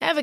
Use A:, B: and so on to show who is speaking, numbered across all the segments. A: Ever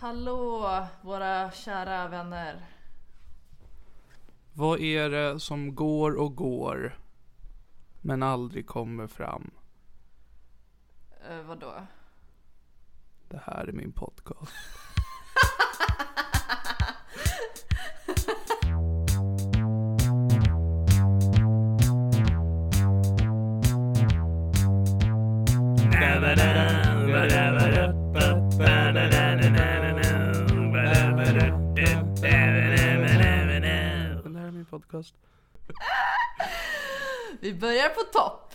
B: Hallå våra kära vänner.
C: Vad är det som går och går men aldrig kommer fram?
B: Eh, vadå?
C: Det här är min podcast. Det här är min podcast.
B: Vi börjar på topp.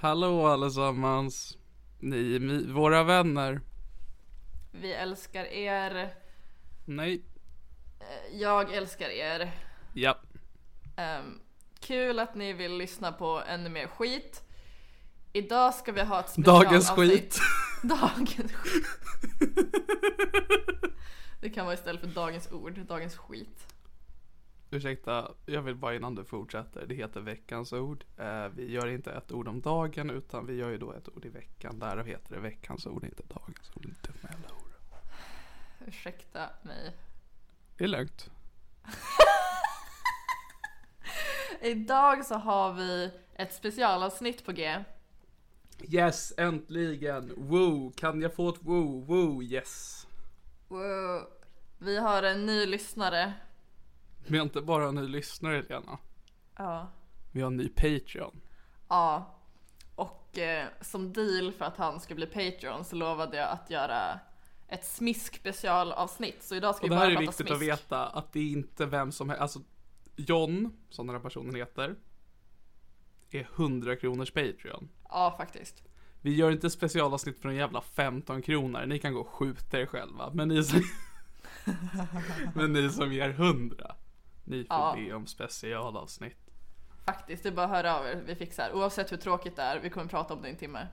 C: Hallå allesammans. Ni är mi- våra vänner.
B: Vi älskar er.
C: Nej.
B: Jag älskar er.
C: Ja.
B: Ehm, kul att ni vill lyssna på ännu mer skit. Idag ska vi ha ett
C: Dagens
B: specialavsnitt.
C: skit.
B: Dagens skit. Det kan vara istället för dagens ord, dagens skit.
C: Ursäkta, jag vill bara innan du fortsätter. Det heter veckans ord. Eh, vi gör inte ett ord om dagen utan vi gör ju då ett ord i veckan. Därav heter det veckans ord, inte dagens ord. Inte dumma jävla ord.
B: Ursäkta mig.
C: Det är lugnt.
B: Idag så har vi ett specialavsnitt på G.
C: Yes, äntligen! Woo! Kan jag få ett woo? Woo, yes!
B: Wow. Vi har en ny lyssnare.
C: Vi har inte bara en ny lyssnare, Lena.
B: Ja.
C: Vi har en ny Patreon.
B: Ja. Och eh, som deal för att han ska bli Patreon så lovade jag att göra ett smisk specialavsnitt. Så idag ska
C: Och
B: vi
C: det
B: bara
C: här är
B: prata
C: viktigt
B: smisk.
C: att veta, att det är inte vem som helst. Alltså, John, som den här personen heter, är 100 kronors Patreon.
B: Ja, faktiskt.
C: Vi gör inte specialavsnitt för en jävla 15 kronor. Ni kan gå och skjuta er själva. Men ni som, men ni som ger 100, ni får
B: Ja.
C: be om specialavsnitt.
B: Faktiskt, det är bara att höra av er. Vi fixar. Oavsett hur tråkigt det är, vi kommer prata om det i en timme.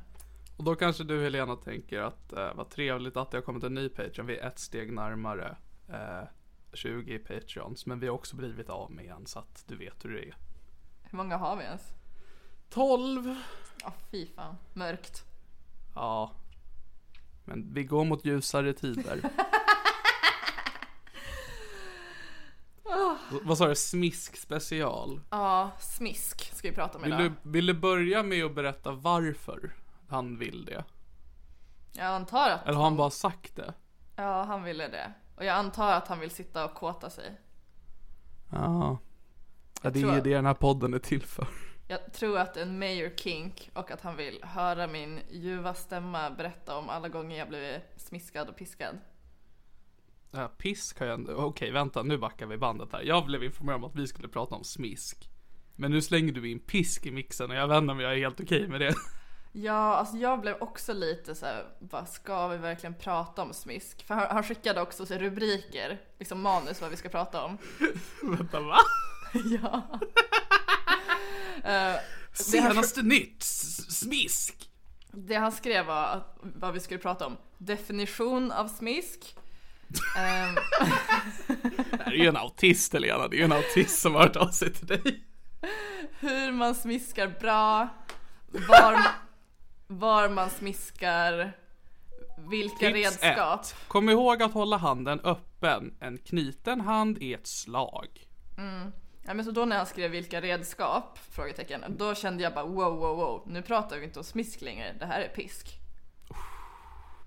C: Och då kanske du Helena tänker att eh, vad trevligt att det har kommit en ny Patreon. Vi är ett steg närmare eh, 20 Patreons. Men vi har också blivit av med en så att du vet hur det är.
B: Hur många har vi ens?
C: 12!
B: Ja, fy fan. Mörkt.
C: Ja. Men vi går mot ljusare tider. V- Vad sa du? Smisk special.
B: Ja, smisk ska vi prata om
C: Vill
B: idag.
C: du, vill du börja med att berätta varför han vill det?
B: Jag antar att...
C: Eller har han bara sagt det?
B: Ja, han ville det. Och jag antar att han vill sitta och kåta sig.
C: Ja. ja det
B: tror
C: är ju
B: jag-
C: det den här podden är till för.
B: Jag tror att det är en major kink och att han vill höra min ljuva stämma berätta om alla gånger jag blev smiskad och piskad.
C: Ja, pisk har jag ändå... Okej, vänta, nu backar vi bandet här. Jag blev informerad om att vi skulle prata om smisk. Men nu slänger du in pisk i mixen och jag vet inte om jag är helt okej med det.
B: Ja, alltså jag blev också lite så här, vad ska vi verkligen prata om smisk? För han, han skickade också så här rubriker, liksom manus vad vi ska prata om.
C: vänta, va?
B: ja. Eh,
C: Senaste nytt! S- Smisk!
B: Det han skrev var att, vad vi skulle prata om. Definition av smisk. Ehm,
C: Det här är ju en autist Helena, det är ju en autist som har hört av sig till dig.
B: hur man smiskar bra. Var, var man smiskar. Vilka
C: Tips
B: redskap.
C: ett. Kom ihåg att hålla handen öppen. En knuten hand är ett slag.
B: Ja, men så då när han skrev vilka redskap? Frågetecken. Då kände jag bara wow, wow, wow. Nu pratar vi inte om smisk längre. Det här är pisk.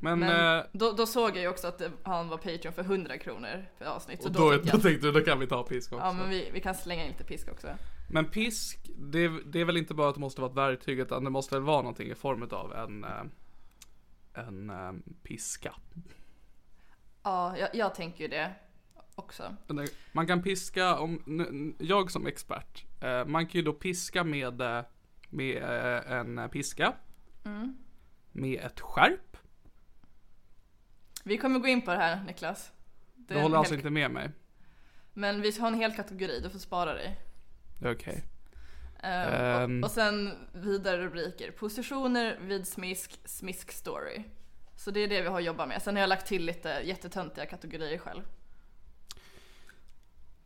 C: Men,
B: Men
C: eh,
B: då, då såg jag ju också att det, han var Patreon för 100 kronor för avsnitt. Så
C: och
B: då,
C: då,
B: tänkte
C: då
B: jag
C: tänkte du, då kan vi ta pisk också.
B: ja men vi, vi kan slänga in lite pisk också.
C: Men pisk, det, det är väl inte bara att det måste vara ett verktyg utan det måste väl vara någonting i form av en, eh, en eh, piska.
B: Ja, jag, jag tänker ju det också.
C: Den där- Man kan piska, om, nu- nu- jag som expert, eh, man kan ju då piska med, eh, med eh, en piska.
B: Mm.
C: Med ett skärp.
B: Vi kommer gå in på det här Niklas. Det
C: Du
B: är en
C: håller alltså
B: hel-
C: inte med mig?
B: Men vi har en hel kategori, du får spara dig.
C: Okej.
B: Ehm,
C: Ehm.
B: och, och sen vidare rubriker. Positioner vid smisk, smisk story. Så det är det vi har jobbat med. Sen har jag lagt till lite jättetöntiga kategorier själv.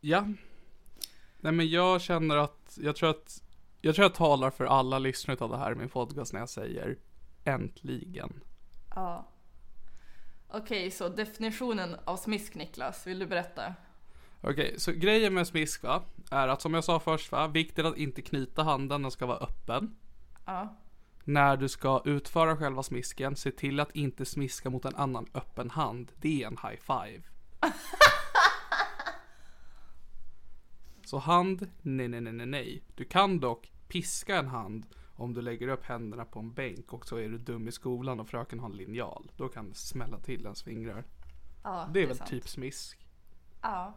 C: Ja. Nej men jag känner att, jag tror att, jag tror jag talar för alla lyssnare av det här i min podcast när jag säger äntligen.
B: Ja. Okej, så definitionen av smisk Niklas, vill du berätta?
C: Okej, så grejen med smisk va, är att som jag sa först va, viktigt att inte knyta handen, den ska vara öppen.
B: Ja.
C: När du ska utföra själva smisken, se till att inte smiska mot en annan öppen hand. Det är en high five. Så hand, nej, nej, nej, nej, nej. Du kan dock piska en hand om du lägger upp händerna på en bänk och så är du dum i skolan och fröken har en linjal. Då kan det smälla till ens fingrar.
B: ja
C: Det är väl
B: sant.
C: typ smisk.
B: Ja.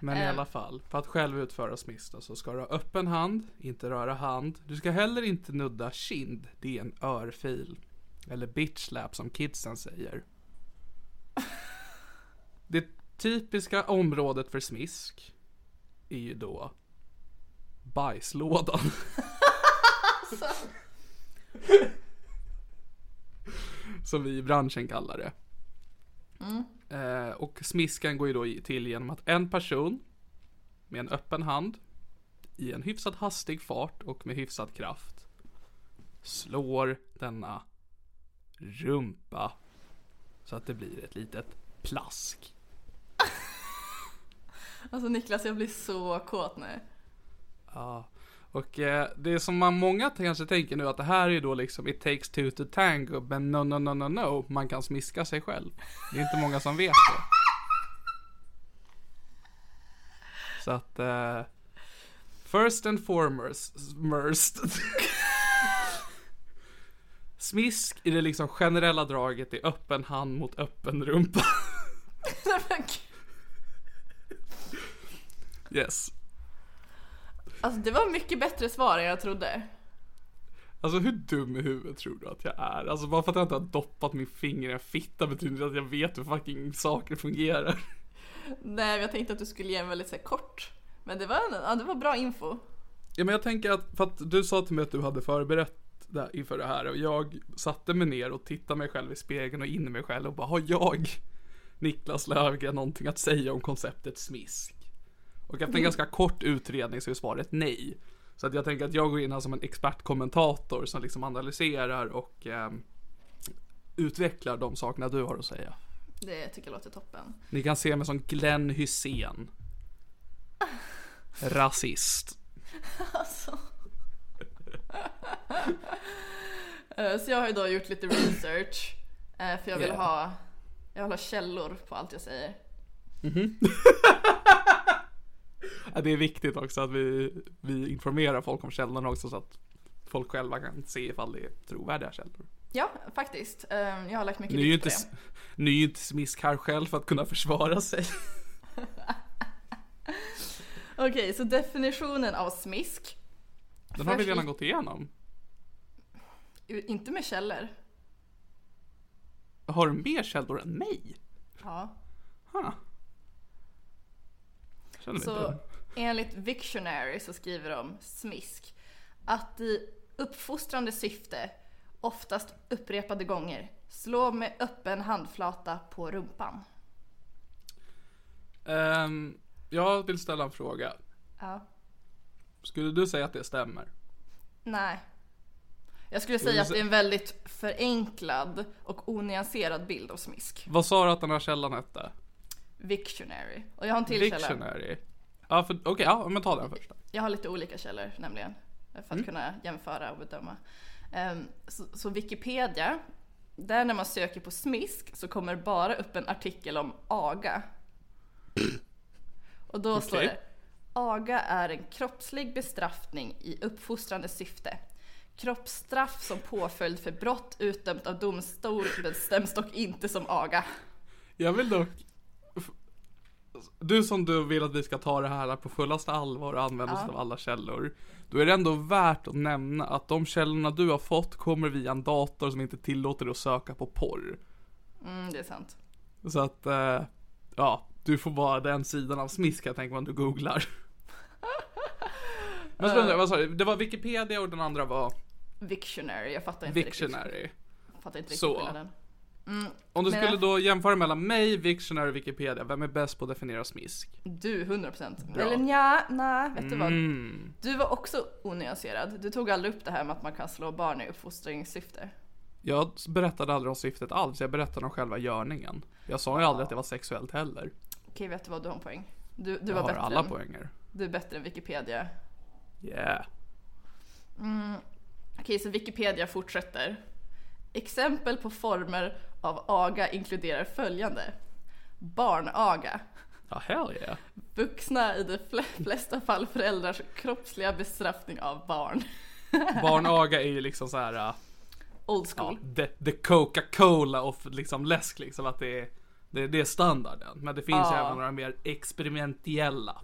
C: Men i
B: Eh.
C: alla fall, för att själv utföra smiss då, så ska du ha öppen hand, inte röra hand. Du ska heller inte nudda kind, det är en örfil. Eller bitch slap som kidsen säger. Det typiska området för smisk är ju då bajslådan. Som vi i branschen kallar det. Eh, och smiskan går ju då i- till genom att en person med en öppen hand i en hyfsat hastig fart och med hyfsad kraft slår denna rumpa så att det blir ett litet plask.
B: Alltså Niklas, jag blir så kåt nu.
C: Ja. Och eh, det är som man många kanske tänker nu att det här är ju då liksom it takes two to tango men no no no no no man kan smiska sig själv. Det är inte många som vet det. Så att eh, first and foremost merst. Smisk i det liksom generella draget är öppen hand mot öppen rumpa.
B: Nej, men gud.
C: Yes.
B: alltså det var mycket bättre svar än jag trodde.
C: Alltså hur dum i huvudet tror du att jag är? Alltså bara för att jag inte har doppat min finger i en fitta betyder inte att jag vet hur fucking saker fungerar.
B: Nej, men jag tänkte att du skulle ge en väldigt så här, kort. Men det var, en, ja, det var bra info.
C: Ja men jag tänker att, för att du sa till mig att du hade förberett det här- inför det här och jag satte mig ner och tittade mig själv i spegeln och in i mig själv och bara har jag, Niklas Löfgren, någonting att säga om konceptet smisk? Och efter en ganska kort utredning så är svaret nej. Så att jag tänker att jag går in här som en expertkommentator som liksom analyserar och ehm, utvecklar de sakerna du har att säga.
B: Det tycker jag låter toppen.
C: Ni kan se mig som Glenn Hussein. Rasist.
B: Alltså. Eh, Så jag har ju då gjort lite research. eh, För jag vill
C: Yeah.
B: ha jag vill ha källor på allt jag säger.
C: Ja, Det är viktigt också att vi, vi informerar folk om källorna också så att folk själva kan se ifall det är trovärdiga källor.
B: Ja, faktiskt. Eh, Jag har lagt mycket
C: Ni är ju
B: vikt på
C: inte,
B: det.
C: ni är ju inte smisk här själv för att kunna försvara sig.
B: Okej, så definitionen av smisk.
C: Den har vi
B: Först-
C: redan gått igenom.
B: ju- Inte med källor.
C: Har du mer källor än mig?
B: Ja.
C: Huh. Känner mig
B: Så
C: dum.
B: enligt Victionary så skriver de smisk att i uppfostrande syfte oftast upprepade gånger. Slå med öppen handflata på rumpan.
C: Ehm, jag vill ställa en fråga.
B: Ja.
C: Skulle du säga att det stämmer?
B: Nej. Jag skulle säga att det är en väldigt förenklad och onyanserad bild av smisk.
C: Vad sa du att den här källan hette?
B: Victionary. Och jag har en till källa.
C: Dictionary? Ja, för- okej, ja, men ta den först. då.
B: Jag har lite olika källor nämligen. För att
C: Mm.
B: kunna jämföra och bedöma. Ehm, så, så Wikipedia, där när man söker på smisk så kommer det bara upp en artikel om aga. Och då står
C: Okej.
B: det Aga är en kroppslig bestraffning i uppfostrande syfte. Kroppsstraff som påföljd för brott utdömt av domstol bestäms dock inte som aga.
C: Jag vill dock... f- Du som du vill att vi ska ta det här på fullaste allvar och använda oss av alla källor. Då är det ändå värt att nämna att de källorna du har fått kommer via en dator som inte tillåter dig att söka på porr.
B: Mm, det är sant.
C: Så att, eh, ja, du får vara den sidan av smisk jag tänker om du googlar. Men så undrar jag, vad sa du? Det var Wikipedia och den andra var
B: Victionary, jag fattar inte riktigt.
C: Victionary.
B: Jag fattar inte riktigt
C: Så.
B: skillnaden.
C: Om du
B: Men-
C: skulle då jämföra mellan mig, Victionary och Wikipedia, vem är bäst på att definiera smisk?
B: Du, 100%. Eller nja, nej, vet du vad?
C: Mm.
B: Du var också onyanserad. Du tog aldrig upp det här med att man kan slå barn i uppfostringssyfte.
C: Jag berättade aldrig om syftet alls, jag berättade om själva görningen. Jag sa ju aldrig att det var sexuellt heller.
B: Okej, vet du vad? Du har en poäng. Du, du
C: Jag
B: var
C: har
B: bättre
C: alla
B: än,
C: poänger.
B: Du är bättre än Wikipedia.
C: Yeah.
B: Okej, så Wikipedia fortsätter. Exempel på former av aga inkluderar följande. Barnaga.
C: Ja, hell yeah.
B: Vuxna i de fle- flesta fall föräldrars kroppsliga bestraffning av barn.
C: Barnaga är ju liksom så här. äh,
B: Old
C: ja,
B: school.
C: the, the Coca-Cola of liksom läsk liksom att det är, det, det är standarden. Men det finns ju även några mer experimentella.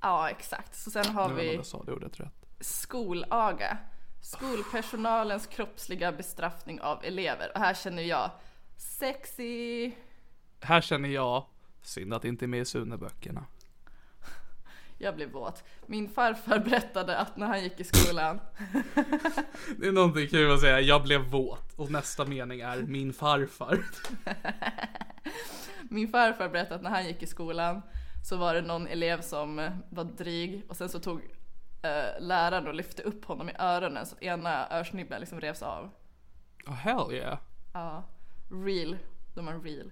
B: Ja, exakt. Så sen har
C: Jag vet inte om
B: vi
C: jag sa det ordet rätt.
B: skolaga. Skolpersonalens kroppsliga bestraffning av elever. Och här känner jag sexy.
C: Här känner jag, synd att det inte är med i Sune-böckerna.
B: Jag blev våt. Min farfar berättade att när han gick i skolan.
C: Det är någonting kul att säga, jag blev våt. Och nästa mening är min farfar.
B: Min farfar berättade att när han gick i skolan så var det någon elev som eh, var dryg och sen så tog eh, läraren och lyfte upp honom i öronen så att ena örsnibben liksom revs av.
C: Oh, hell yeah.
B: Ja, real. De är real.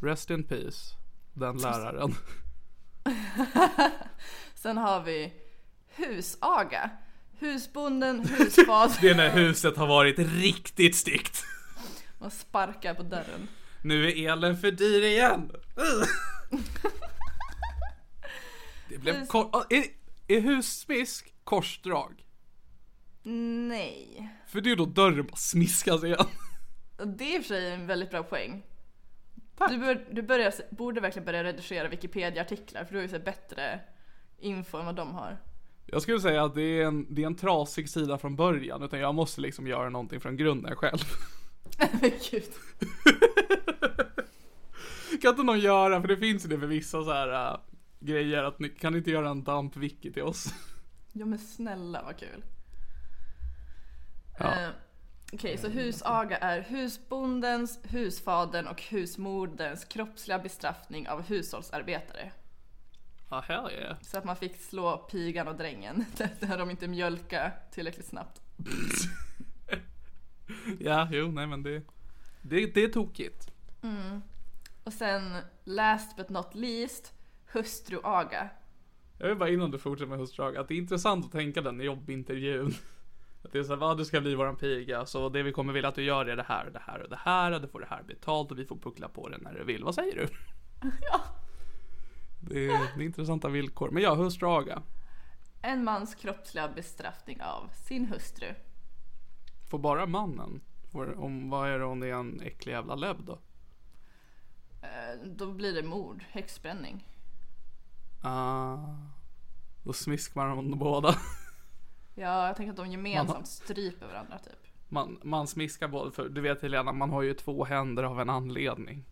C: Rest in peace, den läraren.
B: Sen har vi husaga. Husbonden, husfader.
C: Det är när huset har varit riktigt styggt.
B: Man sparkar på dörren.
C: Nu är elen för dyr igen. Det blev kor- Ah, är, är hussmisk korsdrag?
B: Nej.
C: För det är ju då dörren bara smiskas igen.
B: Och Det är i och för sig en väldigt bra poäng. Du, bör, du börjar, borde verkligen börja reducera Wikipedia-artiklar för du har ju så här bättre info än vad de har.
C: Jag skulle säga att det är, en, det är en trasig sida från början utan jag måste liksom göra någonting från grunden själv.
B: Men Gud.
C: Kan inte någon göra, för det finns ju det för vissa så här äh, grejer att ni kan ni inte göra en damp wiki till oss.
B: Ja men snälla vad kul.
C: Ja.
B: Eh, Okej, så husaga är husbondens, husfadern och husmordens kroppsliga bestraffning av hushållsarbetare.
C: Ja, Ah, hell yeah.
B: Så att man fick slå pigan och drängen när de inte mjölka tillräckligt snabbt.
C: Ja, jo, nej men det, det, det är tokigt.
B: Och sen last but not least, hustruaga.
C: Jag vill bara innan du fortsätter med hustrag, att det är intressant att tänka den jobbintervjun. Att det är såhär, vad du ska bli våran piga, så det vi kommer vilja att du gör är det här och det här och det här, och du får det här betalt och vi får puckla på det när du vill. Vad säger du?
B: Ja.
C: Det är, det är intressanta villkor. Men ja, hustraga.
B: En mans kroppsliga bestraffning av sin hustru.
C: Får bara mannen? Får, om, vad är det om det är en äcklig jävla lebb då?
B: Eh, Då blir det mord, häxbränning.
C: Ah, då smiskar man dem båda.
B: Ja, jag tänker att de gemensamt stryper varandra typ.
C: Man, man smiskar båda, för du vet Helena, man har ju två händer av en anledning.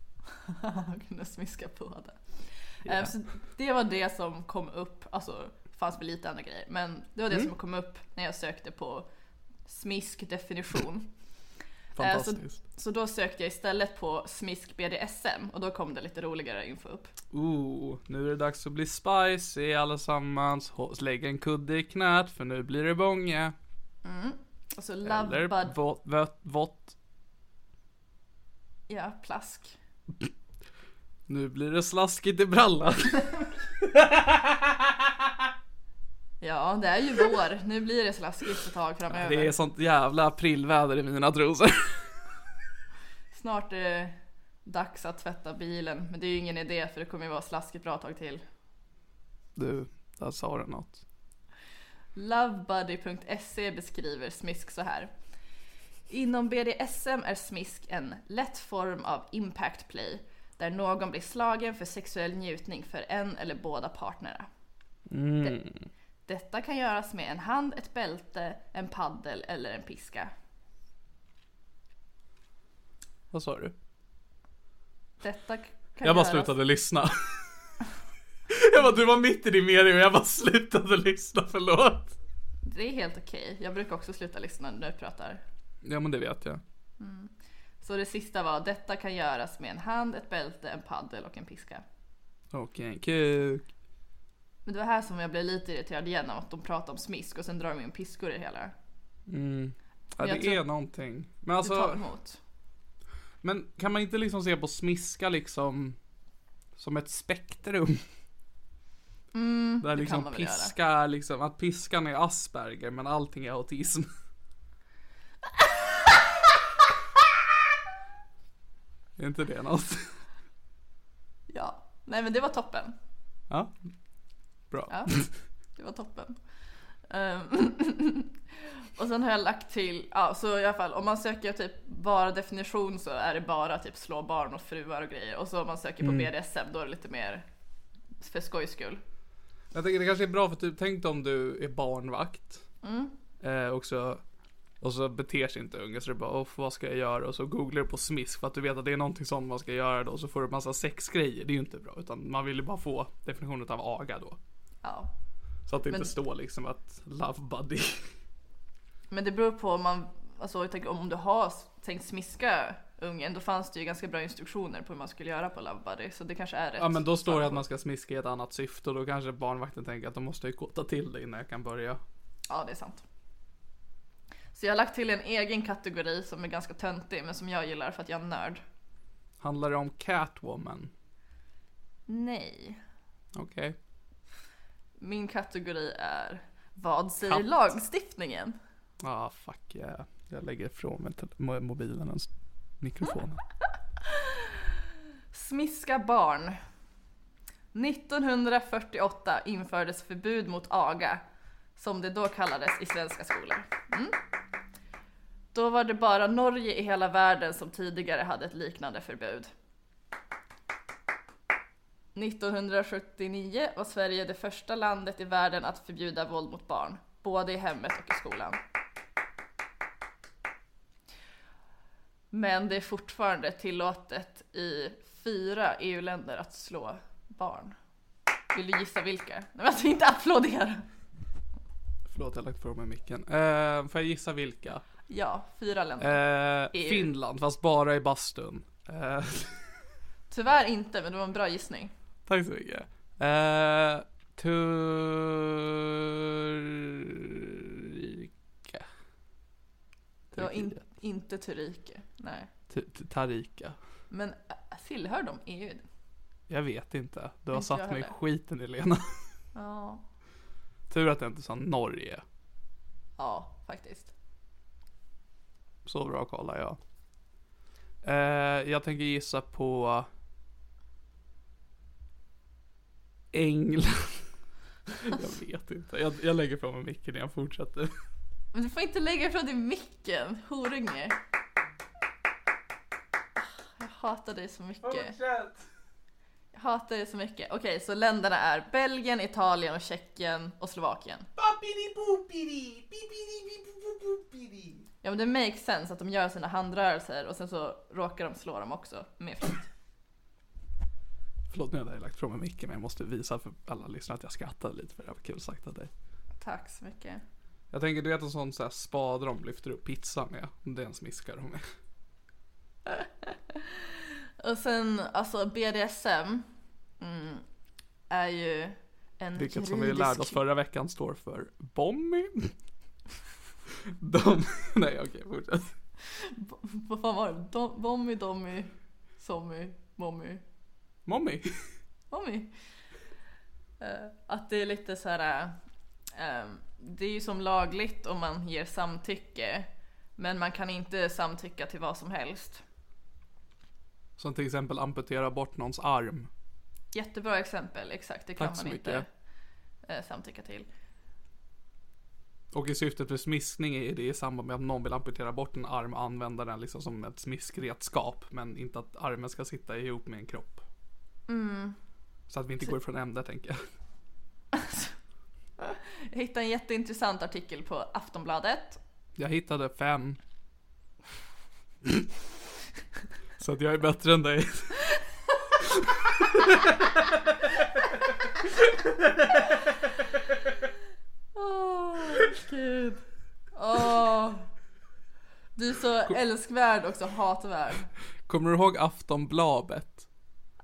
B: Och kunna smiska på det. Eh, Så det var det som kom upp, alltså det fanns väl lite andra grejer, men det var det som kom upp när jag sökte på smisk definition. Eh, Så,
C: Fantastiskt.
B: så då sökte jag istället på smisk BDSM och då kom det lite roligare info upp.
C: Ooh, nu är det dags att bli spicy allesammans. Hå- Lägg en kudde i knät för nu blir det bånge.
B: Och så
C: Eller
B: labbad,
C: vått, vått, vått.
B: ja plask.
C: Nu blir det slaskigt i brallan.
B: Ja det är ju vår, nu blir det slaskigt ett tag framöver.
C: Det är sånt jävla aprilväder i mina trosor.
B: Snart är det dags att tvätta bilen men det är ju ingen idé för det kommer ju vara slaskigt bra tag till.
C: Du, där sa du något.
B: Lovebuddy.se beskriver smisk så här. Inom BDSM är smisk en lätt form av impact play där någon blir slagen för sexuell njutning för en eller båda partnerna.
C: Mm.
B: Det, detta kan göras med en hand, ett bälte, en paddel eller en piska.
C: Vad sa du?
B: Detta k- kan
C: Jag bara
B: göras...
C: slutade lyssna. Jag bara, du var mitt i din mening och jag bara slutade lyssna, förlåt.
B: Det är helt okej. Jag brukar också sluta lyssna när du pratar.
C: Ja men det vet jag.
B: Så det sista var, detta kan göras med en hand, ett bälte, en paddel och en piska.
C: Och en kuk.
B: Men det var här som jag blev lite irriterad igen av att de pratar om smisk och sen drar de in piskor i det hela.
C: Mm. Ja,
B: Men
C: det
B: jag tror-
C: är någonting. Men
B: Det tar
C: alltså,
B: emot.
C: men kan man inte liksom se på smiska liksom som ett spektrum? Där liksom
B: Mm, man väl göra.
C: piska är liksom, att piskan är Asperger men allting är autism. är inte det något?
B: Ja. Nej men det var toppen.
C: Ja. Bra.
B: Ja. Det var toppen. Ehm, och sen har jag lagt till, ja så i alla fall om man söker typ bara definition så är det bara typ slå barn och fruar och grejer. Och så om man söker på
C: Mm.
B: BDSM då är det lite mer för skojs skull.
C: Jag tänker det kanske är bra för typ, tänk dig om du är barnvakt. Eh, och, så, och så beter sig inte ungen så du bara, "Uff, vad ska jag göra? Och så googlar du på smisk för att du vet att det är någonting sånt man ska göra då. Och så får du massa sexgrejer, det är ju inte bra. Utan man vill ju bara få definitionen av aga då.
B: Ja.
C: Så att det
B: Men-
C: inte står liksom att love buddy.
B: Men det beror på om man, alltså jag tänker om du har s- tänkt smiska ungen då fanns det ju ganska bra instruktioner på hur man skulle göra på Lovebody så det kanske är rätt.
C: Ja men då står det att man ska smiska i ett annat syfte och då kanske barnvakten tänker att de måste ju kåta till det innan jag kan börja.
B: Ja, det är sant. Så jag har lagt till en egen kategori som är ganska töntig men som jag gillar för att jag är nörd.
C: Handlar det om Catwoman?
B: Nej.
C: Okej.
B: Min kategori är Vad säger
C: Katt.
B: lagstiftningen?
C: Ah fuck yeah. Jag lägger ifrån mig tel- mo- mobilen och s- mikrofonen.
B: Smiska barn. 1948 infördes förbud mot aga, som det då kallades i svenska skolor. Mm. Då var det bara Norge i hela världen som tidigare hade ett liknande förbud. 1979 var Sverige det första landet i världen att förbjuda våld mot barn, både i hemmet och i skolan. Men det är fortfarande tillåtet i fyra EU-länder att slå barn. Vill du gissa vilka? Nej men alltså inte applådera!
C: Förlåt, jag har lagt på mig micken. Eh, får jag gissa vilka?
B: Ja, fyra länder.
C: Eh,
B: EU.
C: Finland, fast bara i bastun. Eh,
B: Tyvärr inte, men det var en bra gissning.
C: tack så mycket. Eh, Turika.
B: Det var in,
C: Turkiet.
B: inte Turkiet. Nej.
C: Tu- tu- Tarika.
B: Men äh, tillhör de EU?
C: Jag vet inte. Du har
B: Inte jag
C: satt mig i
B: heller.
C: skiten Elena.
B: Ja.
C: Tur att jag inte sa Norge.
B: Ja, faktiskt.
C: Så bra kollar jag. Eh, jag tänker gissa på England. jag vet inte. Jag, jag lägger på mig micken när jag fortsätter.
B: Men du får inte lägga ifrån dig micken, horunge. Jag hatar dig så mycket. Jag hatar dig så mycket. Okej, så länderna är Belgien, Italien och Tjeckien och Slovakien. Ja men det makes sense att de gör sina handrörelser och sen så råkar de slå dem också med flit.
C: Förlåt nu har jag lagt på mig micken men jag måste visa för alla lyssnare att jag skrattade lite för det här var kul sagt av dig.
B: Tack så mycket.
C: Jag tänker du vet en sån så här spade de lyfter upp pizza med. Det är en smiska de är.
B: Och sen, alltså BDSM mm, är ju en
C: Vilket
B: juridisk...
C: som vi lärde oss förra veckan står för Bommy. De... Nej okej, fortsätt.
B: B- Vad fan var det? Dom- Bommy, Dommy, Sommy, Mommy,
C: Mommy.
B: Mommy. Eh, Att det är lite så här. eh, det är ju som lagligt om man ger samtycke. Men man kan inte samtycka till vad som helst.
C: Som till exempel amputera bort någons arm.
B: Jättebra exempel, exakt. Det kan
C: Tack så
B: man inte
C: mycket.
B: eh, samtycka till.
C: Och i syftet för smiskning är det i samband med att någon vill amputera bort en arm och använda den liksom som ett smiskredskap. Men inte att armen ska sitta ihop med en kropp. Så att vi inte går ifrån ämnet tänker jag.
B: Jag hittade en jätteintressant artikel på Aftonbladet.
C: Jag hittade fem. Så att jag är bättre än dig.
B: Åh, gud. Åh. Du är så älskvärd och så hatvärd.
C: Kommer du ihåg Aftonbladet?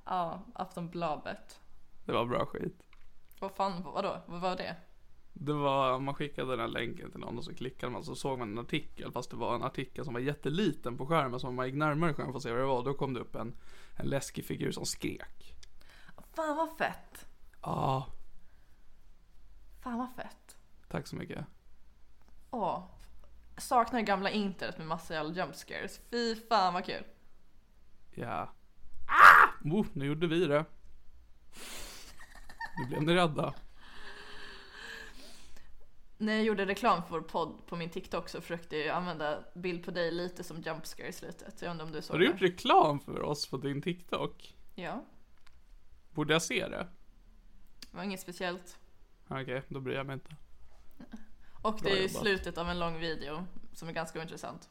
B: Ja, Aftonbladet.
C: Det var bra skit.
B: Vad fan, vadå? Vad var det?
C: Det var, man skickade den här länken till någon och så klickade man så såg man en artikel fast det var en artikel som var jätteliten på skärmen så om man gick närmare skärmen för att se vad det var då kom det upp en, en läskig figur som skrek.
B: Fan vad fett.
C: Ja,
B: Fan vad fett.
C: tack så mycket.
B: Åh. Saknar gamla internet med massa jävla jump scares. Fy fan vad kul.
C: Ja. Ah! Oh, nu gjorde vi det. Nu blev ni rädda.
B: När jag gjorde reklam för vår podd på min TikTok så försökte jag använda bild på dig lite som jump scare i slutet. Jag undrar om du såg
C: Har du
B: det?
C: gjort reklam för oss på din TikTok?
B: Ja.
C: Borde jag se det?
B: Det var inget speciellt.
C: Okej, då bryr jag mig inte.
B: Och
C: Bra
B: det är ju
C: jobbat.
B: slutet av en lång video som är ganska intressant.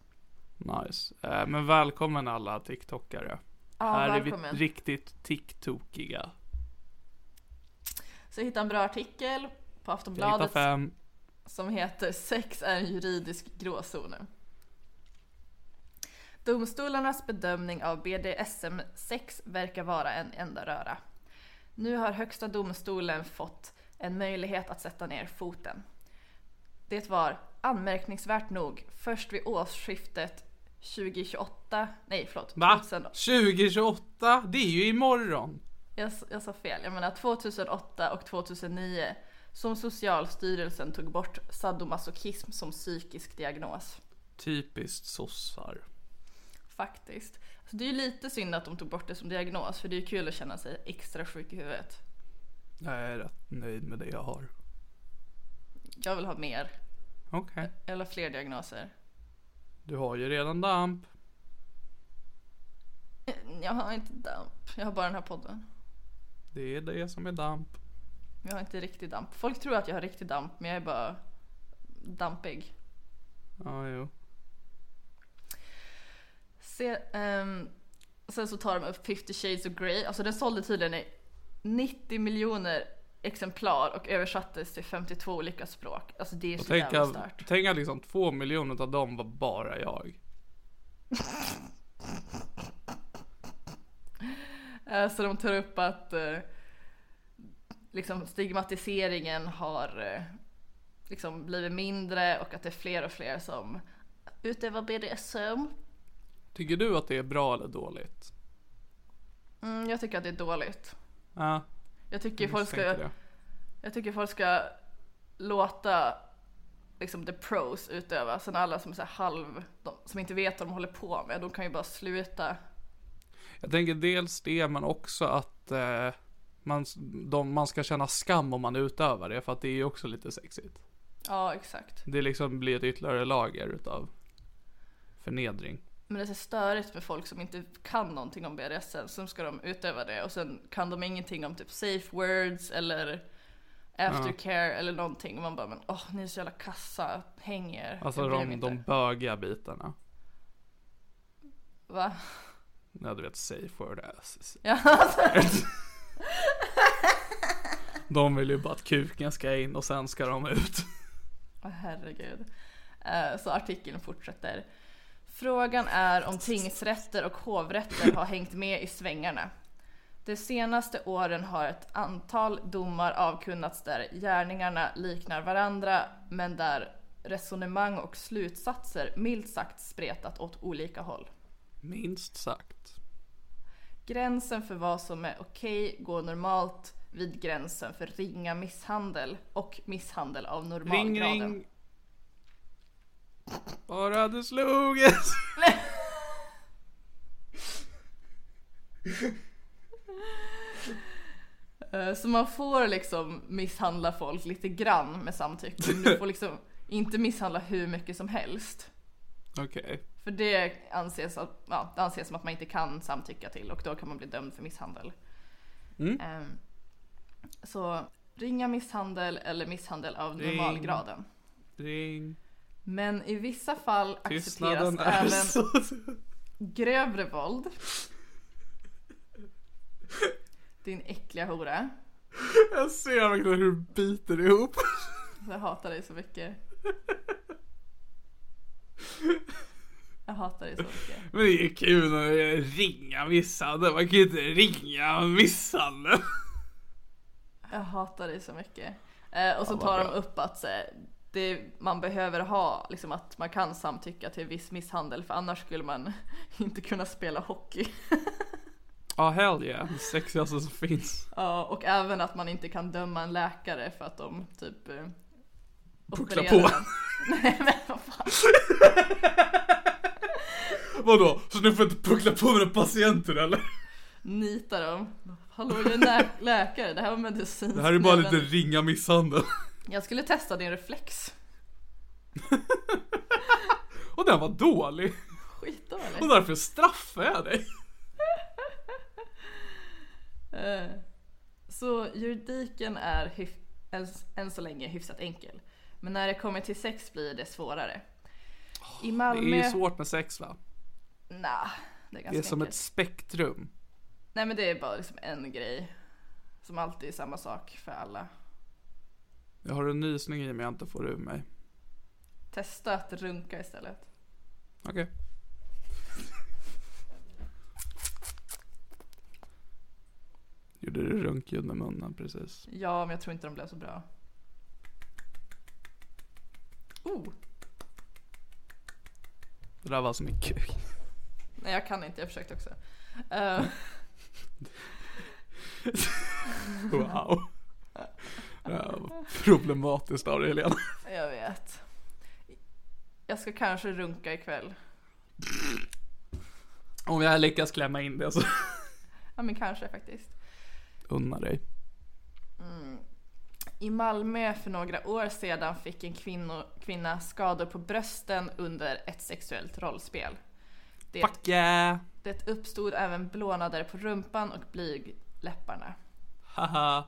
C: Nice. Eh, men välkommen alla TikTokare.
B: Ja,
C: Här är
B: välkommen.
C: vi riktigt TikTokiga.
B: Så jag hittade en bra artikel på
C: Jag hittar
B: Aftonbladet
C: fem.
B: som heter Sex är en juridisk gråzon. Domstolarnas bedömning av BDSM-sex verkar vara en enda röra. Nu har Högsta domstolen fått en möjlighet att sätta ner foten. Det var anmärkningsvärt nog först vid årsskiftet 2028, nej förlåt,
C: Va?
B: 2000
C: 2028? Det är ju imorgon.
B: Jag, jag sa fel, jag menar 2008 och 2009 som Socialstyrelsen tog bort sadomasochism som psykisk diagnos.
C: Typiskt sossar.
B: Faktiskt. Så det är ju lite synd att de tog bort det som diagnos för det är ju kul att känna sig extra sjuk i huvudet.
C: Jag är rätt nöjd med det jag har.
B: Jag vill ha mer,
C: Okej.
B: eller fler diagnoser.
C: Du har ju redan damp.
B: Jag har inte damp, jag har bara den här podden.
C: Det är det som är damp.
B: Jag har inte riktig damp. Folk tror att jag har riktig damp men jag är bara dampig.
C: Ja, jo.
B: Se, ehm, sen så tar de upp 50 shades of Grey. Alltså den sålde tydligen i 90 miljoner exemplar och översattes till 52 olika språk. Alltså det är
C: Och
B: så
C: tänk,
B: jävla
C: att-
B: stört.
C: tänk att liksom två miljoner av dem var bara jag.
B: Eh, Så de tar upp att eh, liksom stigmatiseringen har eh, liksom blivit mindre och att det är fler och fler som utövar BDSM.
C: Tycker du att det är bra eller dåligt?
B: Mm, jag tycker att det är dåligt.
C: Ja,
B: Jag tycker
C: jag
B: folk ska...
C: misstänkte det.
B: Jag tycker folk ska låta liksom the pros utöva. Sen alla som är så här halv, de, som inte vet vad de håller på med, de kan ju bara sluta.
C: Jag tänker dels det, men också att eh, man, de, man ska känna skam om man utövar det, för att det är ju också lite sexigt.
B: Ja, exakt.
C: Det liksom blir ett ytterligare lager utav förnedring.
B: Men det är så störigt med folk som inte kan någonting om BDSM, sen ska de utöva det och sen kan de ingenting om typ safe words eller aftercare eller någonting. Och man bara, men åh, ni är så jävla kassa, häng er.
C: Alltså
B: Jag bryr mig
C: de,
B: inte.
C: de bögiga bitarna.
B: Va?
C: Ja, du vet safe word ass.
B: Ja, alltså,
C: De vill ju bara att kuken ska in och sen ska de ut.
B: Åh, herregud. Eh, Så artikeln fortsätter. Frågan är om tingsrätter och hovrätter har hängt med i svängarna. De senaste åren har ett antal domar avkunnats där gärningarna liknar varandra men där resonemang och slutsatser milt sagt spretat åt olika håll.
C: Minst sagt.
B: Gränsen för vad som är okej går normalt vid gränsen för ringa misshandel och misshandel av normalgraden.
C: Ring ring. Bara du slog ett.
B: Eh, Så man får liksom misshandla folk lite grann med samtycke. Men du får liksom inte misshandla hur mycket som helst.
C: Okej.
B: För det anses, att, ja, det anses som att man inte kan samtycka till och då kan man bli dömd för misshandel.
C: Mm.
B: Ehm, Så ringa misshandel eller misshandel av
C: Ring.
B: normalgraden.
C: Ring.
B: Men i vissa fall accepteras
C: Tystnaden är
B: även
C: så...
B: grövre våld. Din äckliga hora.
C: Jag ser verkligen hur du biter ihop.
B: Jag hatar dig så mycket. Jag hatar dig så mycket.
C: Men det är ju kul när det är ringa misshandel. Man kan ju inte ringa misshandel.
B: Jag hatar dig så mycket. Eh, och så tar de upp att så, här, det, man behöver ha, liksom att man kan samtycka till viss misshandel för annars skulle man inte kunna spela hockey.
C: Ja, hell yeah. Det sexigaste som finns.
B: Ja, och även att man inte kan döma en läkare för att de typ... eh,
C: Puckla
B: opererar
C: på.
B: den. Nej men vad fan.
C: Vadå? Så du får inte puckla på mina patienter eller?
B: Nitar dem. Hallå jag är nä- läkare, det här var medicin.
C: Det här är bara
B: Nej, men-
C: lite ringa misshandel.
B: Jag skulle testa din reflex.
C: Och den var dålig.
B: Skitdålig.
C: Och därför straffar jag dig.
B: Eh, Så juridiken är hyf- än, än så länge hyfsat enkel. Men när det kommer till sex blir det svårare. I
C: Det
B: Malmö...
C: är ju svårt med sex va?
B: Nah, det är ganska
C: Det är som ett
B: enkelt.
C: spektrum.
B: Nej men det är bara liksom en grej. Som alltid är samma sak för alla.
C: Jag har en nysning i mig jag inte får ur mig.
B: Testa att runka istället.
C: Okej. Gjorde du runkljud med munnen precis?
B: Ja, men jag tror inte de blev så bra. Oh!
C: Det där var som en kuk.
B: Nej jag kan inte, jag försökte också. Eh,
C: Wow. Det här var problematiskt av dig Helena.
B: jag vet. Jag ska kanske runka ikväll.
C: Om jag lyckas klämma in det så
B: Ja men kanske faktiskt.
C: unna dig.
B: I Malmö för några år sedan fick en kvinno, kvinna skador på brösten under ett sexuellt rollspel. Det,
C: Fuck yeah!
B: det uppstod även blånader på rumpan och blygläpparna.
C: Haha.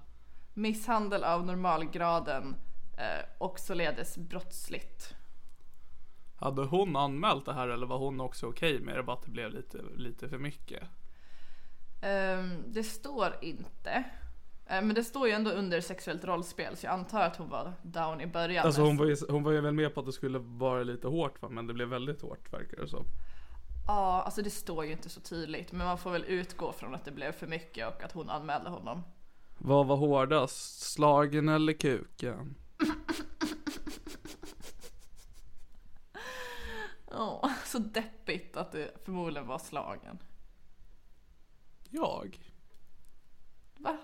B: Misshandel av normalgraden eh, och således brottsligt.
C: Hade hon anmält det här eller var hon också okej med det? Bara att det blev lite, lite för mycket.
B: Ehm, det står inte. Eh, men det står ju ändå under sexuellt rollspel så jag antar att hon var down i början.
C: Alltså hon var, ju, hon var ju väl med på att det skulle vara lite hårt va? Men det blev väldigt hårt verkar det som.
B: Ja, alltså det står ju inte så tydligt men man får väl utgå från att det blev för mycket och att hon anmälde honom.
C: Vad var hårdast? Slagen eller kuken?
B: Åh, så deppigt att det förmodligen var slagen.
C: Jag?
B: Va?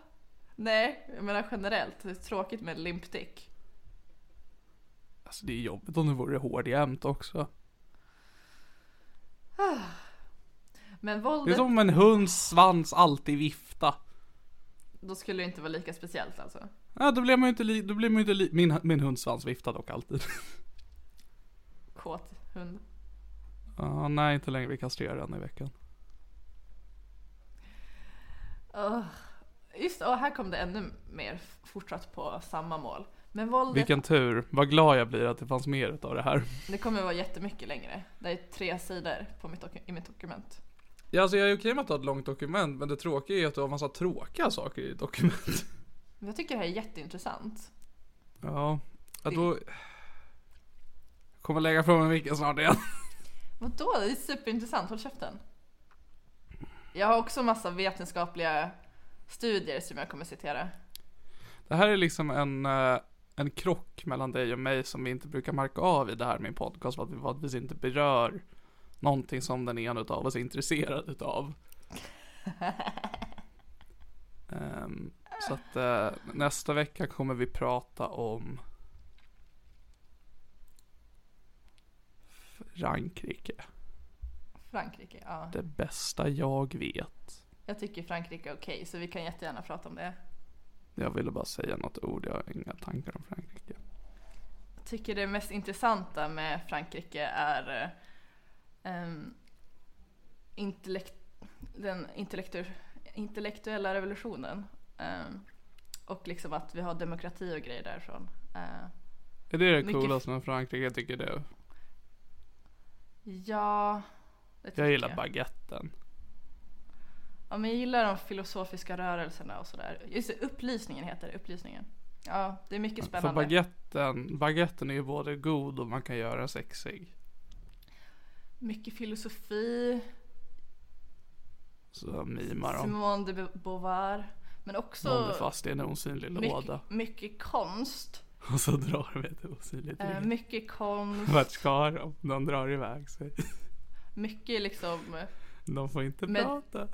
B: Nej, jag menar generellt. Det är tråkigt med limp dick.
C: Alltså det är jobbigt om det vore hård jämt också.
B: Men
C: Det är
B: våldet,
C: som en hunds svans alltid vifta.
B: då skulle det inte vara lika speciellt alltså.
C: Ja, då blir man ju inte, li- då blir man ju inte li- min, min hunds svans viftar dock alltid.
B: Kåt hund.
C: Ah, nej, inte längre. Vi kastrerar den i veckan.
B: Ugh. Just och här kom det ännu mer f- fortsatt på samma mål. Men våldet,
C: Vilken tur. Vad glad jag blir att det fanns mer av det här.
B: det kommer vara jättemycket längre. Det är tre sidor på mitt doku- i mitt dokument.
C: Ja, alltså jag är okej med att ha ett långt dokument, men det tråkiga är att du har massa tråkiga saker i dokument.
B: Men jag tycker det här är jätteintressant.
C: Ja, ja då... Jag kommer lägga fram en vecka snart igen.
B: Vadå? Det är superintressant, håll käften. Jag har också massa vetenskapliga studier som jag kommer citera.
C: Det här är liksom en, eh, en krock mellan dig och mig som vi inte brukar märka av i det här med en podcast, för att vi vanligtvis inte berör någonting som den ena utav oss är intresserad utav. Ehm, så att eh, nästa vecka kommer vi prata om Frankrike.
B: Frankrike, ja.
C: Det bästa jag vet.
B: Jag tycker Frankrike är okej, så vi kan jättegärna prata om det.
C: Jag ville bara säga något ord, jag har inga tankar om Frankrike.
B: Jag tycker det mest intressanta med Frankrike är eh, em, intellekt, den intellektu- intellektuella revolutionen. em, och liksom att vi har demokrati och grejer därifrån. Eh,
C: Är det det
B: Mycket-
C: coolaste med Frankrike tycker du?
B: ja, det tycker
C: Jag gillar baguetten.
B: Ja, men jag gillar de filosofiska rörelserna och sådär. Just det, upplysningen heter det, upplysningen. Ja, det är mycket
C: För
B: spännande.
C: baguetten, baguetten är ju både god och man kan göra den sexig.
B: mycket filosofi,
C: Så jag mimar om.
B: Simone de Beauvoir. Men också
C: Håller fast i en osynlig låda.
B: mycket, mycket konst.
C: Och så drar vi ett osynligt
B: Eh,
C: rep.
B: mycket konst,
C: Vart ska de? De drar iväg sig.
B: mycket liksom eh,
C: De får inte
B: Men-
C: prata.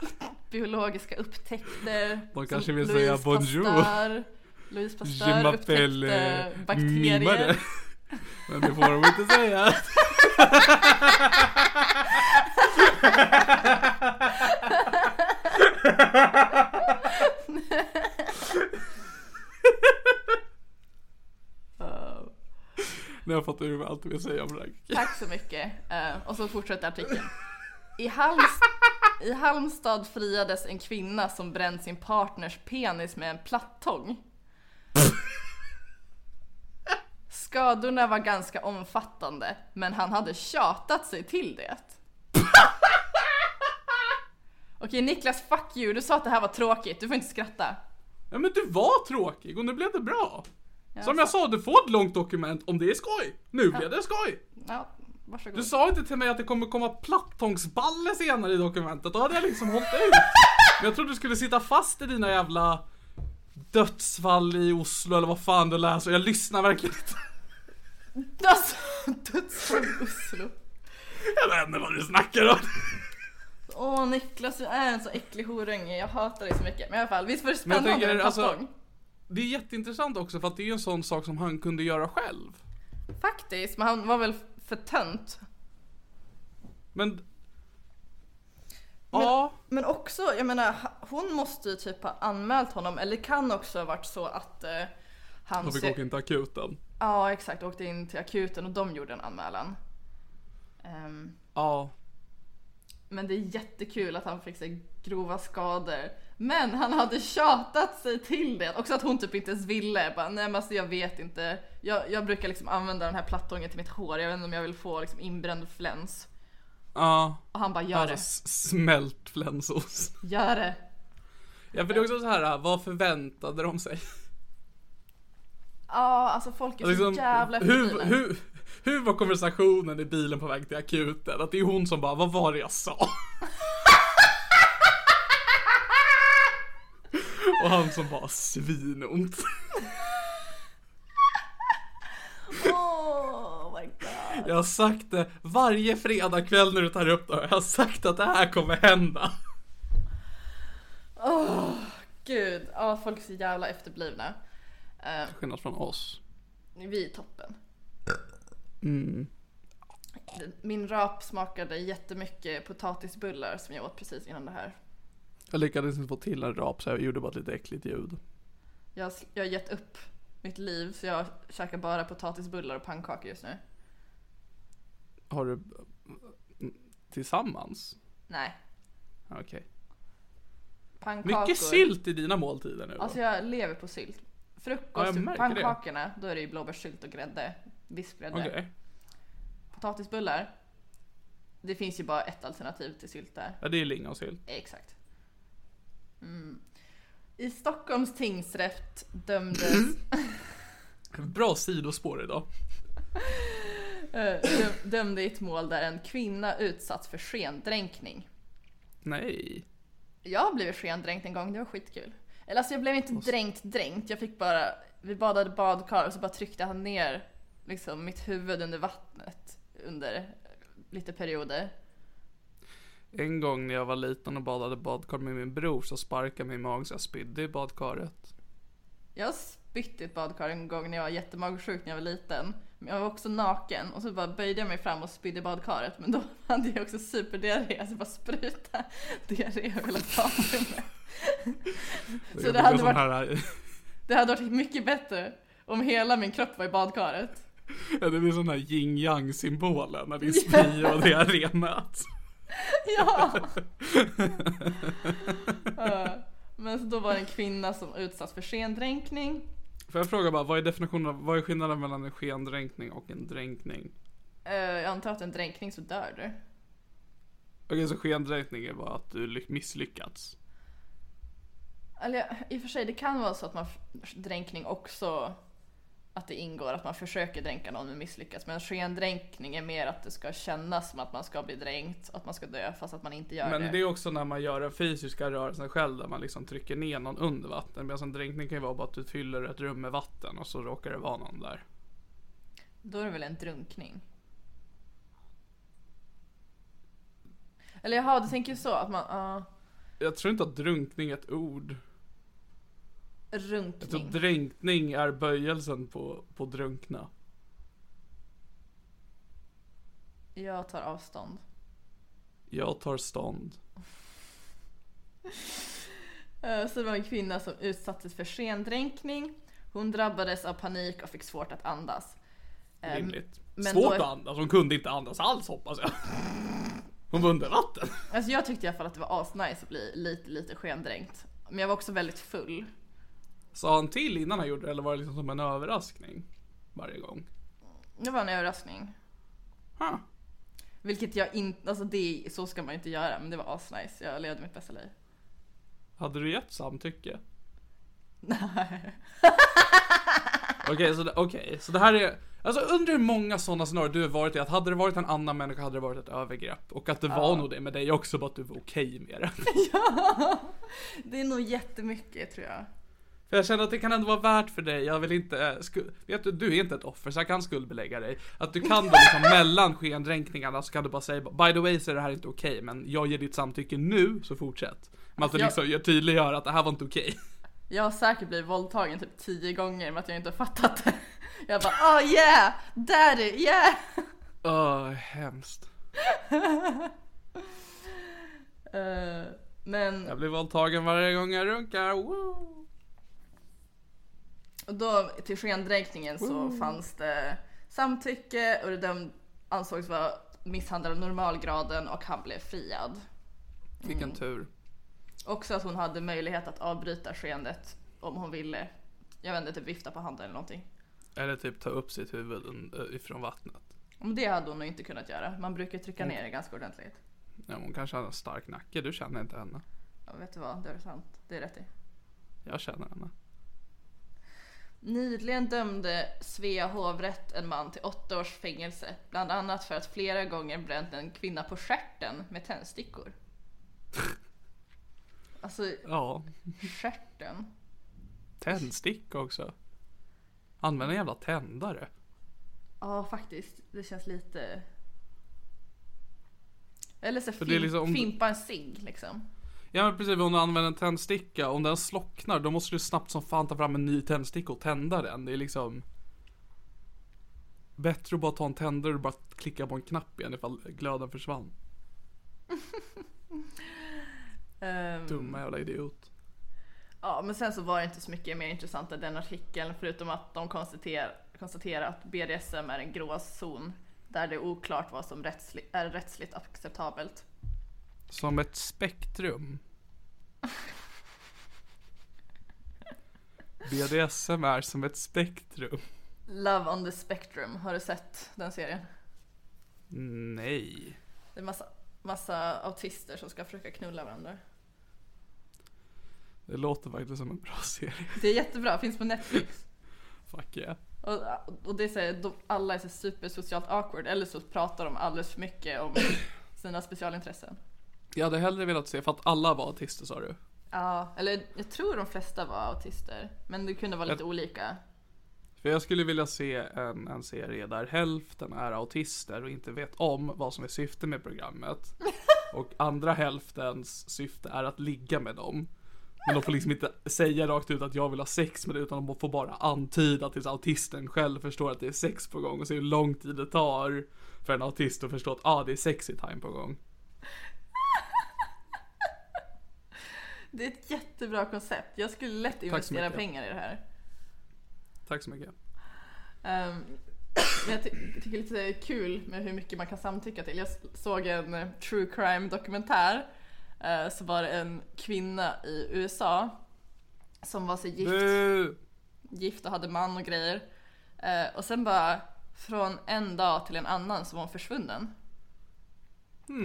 B: biologiska upptäckter.
C: De
B: som
C: kanske vill
B: Louis
C: säga bonjour.
B: Pasteur- Louis
C: Je
B: Pasteur
C: m'appelle,
B: upptäckte
C: eh, mimare.
B: bakterier.
C: Men det får de inte säga.
B: Eh,
C: Nu har jag fått ur mig allt vi säger om Frankrike.
B: Tack så mycket. Eh, och så fortsätter artikeln. I, Halms I Halmstad friades en kvinna som bränt sin partners penis med en plattång. Skadorna var ganska omfattande, men han hade tjatat sig till det. Okej Niklas, fuck you. Du sa att det här var tråkigt. Du får inte skratta.
C: Ja men du var tråkig och nu blev det bra. Som jag sa, du får ett långt dokument om det är skoj. Nu blev det skoj.
B: Ja, varsågod.
C: Du sa inte till mig att det kommer komma plattångsballe senare i dokumentet. Då hade jag liksom hållit ut. Men jag trodde du skulle sitta fast i dina jävla dödsfall i Oslo eller vad fan du läser. Jag lyssnar verkligen inte.
B: Alltså, dödsfall i Oslo.
C: Jag vet inte vad du snackar om.
B: Åh Niklas, du är en så äcklig horunge. Jag hatar dig så mycket. Men i alla fall, visst var det
C: Men jag
B: spännande
C: tänker,
B: med en
C: alltså-
B: plattång?
C: Det är jätteintressant också för att det är ju en sån sak som han kunde göra själv.
B: Faktiskt, men han var väl för tönt.
C: Men... Ja.
B: Men också, jag menar, ha- hon måste ju typ ha anmält honom. Eller det kan också ha varit så att eh, han...
C: De fick
B: se-
C: åka in till akuten.
B: Ja, exakt. Åkte in till akuten och de gjorde en anmälan. Ehm,
C: Ja.
B: men det är jättekul att han fick sig grova skador. Men han hade tjatat sig till det. Också att hon typ inte ens ville. Bara, Nej men alltså jag vet inte. Jag, jag brukar liksom använda den här plattången till mitt hår. Jag vet inte om jag vill få liksom inbränd fläns.
C: Ja.
B: Och han bara gör
C: Alltså s- smält flänsost.
B: det. Gör det.
C: Ja för det är också så här, äh, vad förväntade de sig? Alltså
B: Ja alltså folk är så
C: Liksom,
B: jävla
C: hur,
B: efterblivna.
C: hur, hur var konversationen i bilen på väg till akuten? Att det är hon som bara, vad var det jag sa? Och han som bara, svinont.
B: Oh my god.
C: Jag har sagt det varje fredagkväll när du tar upp det här. Jag har sagt att det här kommer hända.
B: Åh, gud. Ja folk är så jävla efterblivna. Eh,
C: Skillnad från oss.
B: vi är toppen. Min rap smakade jättemycket potatisbullar som jag åt precis innan det här.
C: Jag lyckades inte få till en rap så jag gjorde bara ett lite äckligt ljud.
B: Jag har, sl- jag har gett upp mitt liv så jag käkar bara potatisbullar och pannkakor just nu.
C: Har du... mm, Tillsammans?
B: Nej.
C: Ja, Okej.
B: Pannkakor.
C: Mycket sylt i dina måltider nu då.
B: Alltså jag lever på sylt.
C: Ja,
B: Frukost,
C: jag märker det.
B: pannkakorna, då är det ju blåbärssylt och grädde. Vispgrädde.
C: Okej.
B: Potatisbullar. Det finns ju bara ett alternativ till sylt där.
C: Ja, det är lingonsylt.
B: Exakt. Mm. I Stockholms tingsrätt dömdes
C: Bra sidospår idag.
B: eh, dö- dömde i ett mål där en kvinna utsatts för skendränkning.
C: Nej.
B: Jag blev skendränkt en gång, det var skitkul. Eller alltså jag blev inte dränkt dränkt, jag fick bara, vi badade badkar och så bara tryckte han ner liksom mitt huvud under vattnet under lite perioder.
C: En gång när jag var liten och badade badkar med min bror så sparkade min mag så jag spydde i badkaret.
B: Jag spytte i ett badkar en gång när jag var jättemagsjuk när jag var liten. Men jag var också naken och så bara böjde jag mig fram och spydde i badkaret. Men då hade jag också superdiarré, så bara spruta diarré över hela badrummet. Så det hade
C: Sån
B: varit,
C: här,
B: det hade varit mycket bättre om hela min kropp var i badkaret.
C: ja, det blir sån här yin yang symbolen när din spy och diarré möts.
B: Ja! Eh, Men så då var det en kvinna som utsatts för skendränkning.
C: Får jag fråga bara, vad är definitionen av, vad är skillnaden mellan en skendränkning och en dränkning?
B: Eh, Jag antar att en dränkning så dör du.
C: Okej, så skendränkning är bara att du ly- misslyckats.
B: Eller ja, i och för sig, det kan vara så att man dränkning också att det ingår att man försöker dränka någon men misslyckas. Men skendränkning är mer att det ska kännas som att man ska bli dränkt, att man ska dö fast att man inte gör
C: Men
B: det.
C: det är också när man gör den fysiska rörelsen själv där man liksom trycker ner någon under vatten. Medan en dränkning kan ju vara bara att du fyller ett rum med vatten och så råkar det vara någon där.
B: Då är det väl en drunkning? Eller jaha, du tänker så att man... ja,
C: Jag tror inte att drunkning är ett ord. Jag tror
B: runkning.
C: dränkning är böjelsen på, på drunkna.
B: Jag tar avstånd.
C: Jag tar stånd.
B: Eh, Så det var en kvinna som utsattes för skendränkning. Hon drabbades av panik och fick svårt att andas. Eh,
C: Rimligt.
B: men
C: Svårt
B: då-
C: att andas, hon kunde inte andas alls hoppas jag. Hon var under vatten.
B: Alltså jag tyckte i alla fall att det var asnice att bli lite, lite skendränkt. Men jag var också väldigt full.
C: Sa han till innan han gjorde det eller var det liksom som en överraskning? Varje gång.
B: Det var en överraskning.
C: Huh.
B: Vilket jag inte, alltså det, så ska man inte göra. Men det var asnice, jag levde mitt bästa liv.
C: Hade du gett samtycke?
B: Nej.
C: Okej, så, det- okej, så det här är... Alltså undrar hur många sådana scenarier du har varit i, att hade det varit en annan människa hade det varit ett övergrepp. Och att det var nog det med dig också, bara att du var okej med det.
B: Det är nog jättemycket tror jag.
C: För jag känner att det kan ändå vara värt för dig, jag vill inte... eh, Sku, vet du, du är inte ett offer så jag kan skuldbelägga dig. Att du kan då liksom mellan skendränkningarna så kan du bara säga By the way så är det här inte okej, men jag ger ditt samtycke nu, så fortsätt. Men att du
B: Jag-
C: liksom gör- tydliggör att det här var inte okej.
B: Jag har säkert blivit våldtagen typ tio gånger men att jag inte har fattat det. Jag bara oh yeah, daddy yeah!
C: Åh, hemskt.
B: Eh, men
C: Jag blir våldtagen varje gång jag runkar, Woo!
B: Och då till skendränkningen så fanns det samtycke och det döm- ansågs vara misshandel av normalgraden och han blev friad.
C: Vilken tur.
B: Också att hon hade möjlighet att avbryta skeendet om hon ville. Jag vet inte, typ vifta på handen eller någonting.
C: Eller typ ta upp sitt huvud eh, ifrån vattnet.
B: Om det hade hon nog inte kunnat göra. Man brukar trycka ner det ganska ordentligt.
C: Ja, hon kanske har en stark nacke, du känner inte henne.
B: Ja, vet du vad, det är sant. Det är rätt i.
C: Jag känner henne.
B: Nyligen dömde Svea hovrätt en man till åtta års fängelse. Bland annat för att flera gånger bränt en kvinna på stjärten med tändstickor. Alltså,
C: Ja,
B: stjärten.
C: tändsticka också. Använd en jävla tändare.
B: Ja, faktiskt. Det känns lite... Eller så
C: det är
B: fim-
C: liksom om-
B: fimpa en cigg liksom.
C: Ja men precis, om du använder en tändsticka, om den slocknar då måste du snabbt som fan ta fram en ny tändsticka och tända den. Det är liksom... Bättre att bara ta en tändare och bara klicka på en knapp igen ifall glöden försvann.
B: Ehm,
C: Dumma jävla idiot.
B: Ja, men sen så var det inte så mycket mer intressant än den artikeln förutom att de konstaterar, konstaterar att BDSM är en gråzon där det är oklart vad som rättsli- är rättsligt acceptabelt.
C: Som ett spektrum. BDSM är som ett spektrum.
B: Love on the Spectrum, har du sett den serien?
C: Nej.
B: Det är massa, massa autister som ska försöka knulla varandra.
C: Det låter faktiskt som en bra serie.
B: Det är jättebra, finns på Netflix.
C: Fuck yeah.
B: Och, och det är så här, de, alla är så super socialt awkward eller så pratar de alldeles för mycket om sina specialintressen.
C: Jag hade hellre velat se, för att alla var autister sa du?
B: Ja, eller jag tror de flesta var autister. Men det kunde vara lite
C: Jag-
B: olika.
C: För jag skulle vilja se en, en serie där hälften är autister och inte vet om vad som är syftet med programmet. Och andra hälftens syfte är att ligga med dem. Men de får liksom inte säga rakt ut att jag vill ha sex med det utan de får bara antyda tills autisten själv förstår att det är sex på gång och se hur lång tid det tar för en autist att förstå att ah, det är sexy time på gång.
B: Det är ett jättebra koncept. Jag skulle lätt investera
C: mycket.
B: pengar i det här.
C: Tack så mycket.
B: Ehm, men jag ty- tycker lite det är kul med hur mycket man kan samtycka till. Jag s- såg en eh, true crime dokumentär. eh, så var det en kvinna i USA som var så gift,
C: Bu!
B: gift och hade man och grejer. Eh, och sen bara från en dag till en annan så var hon försvunnen.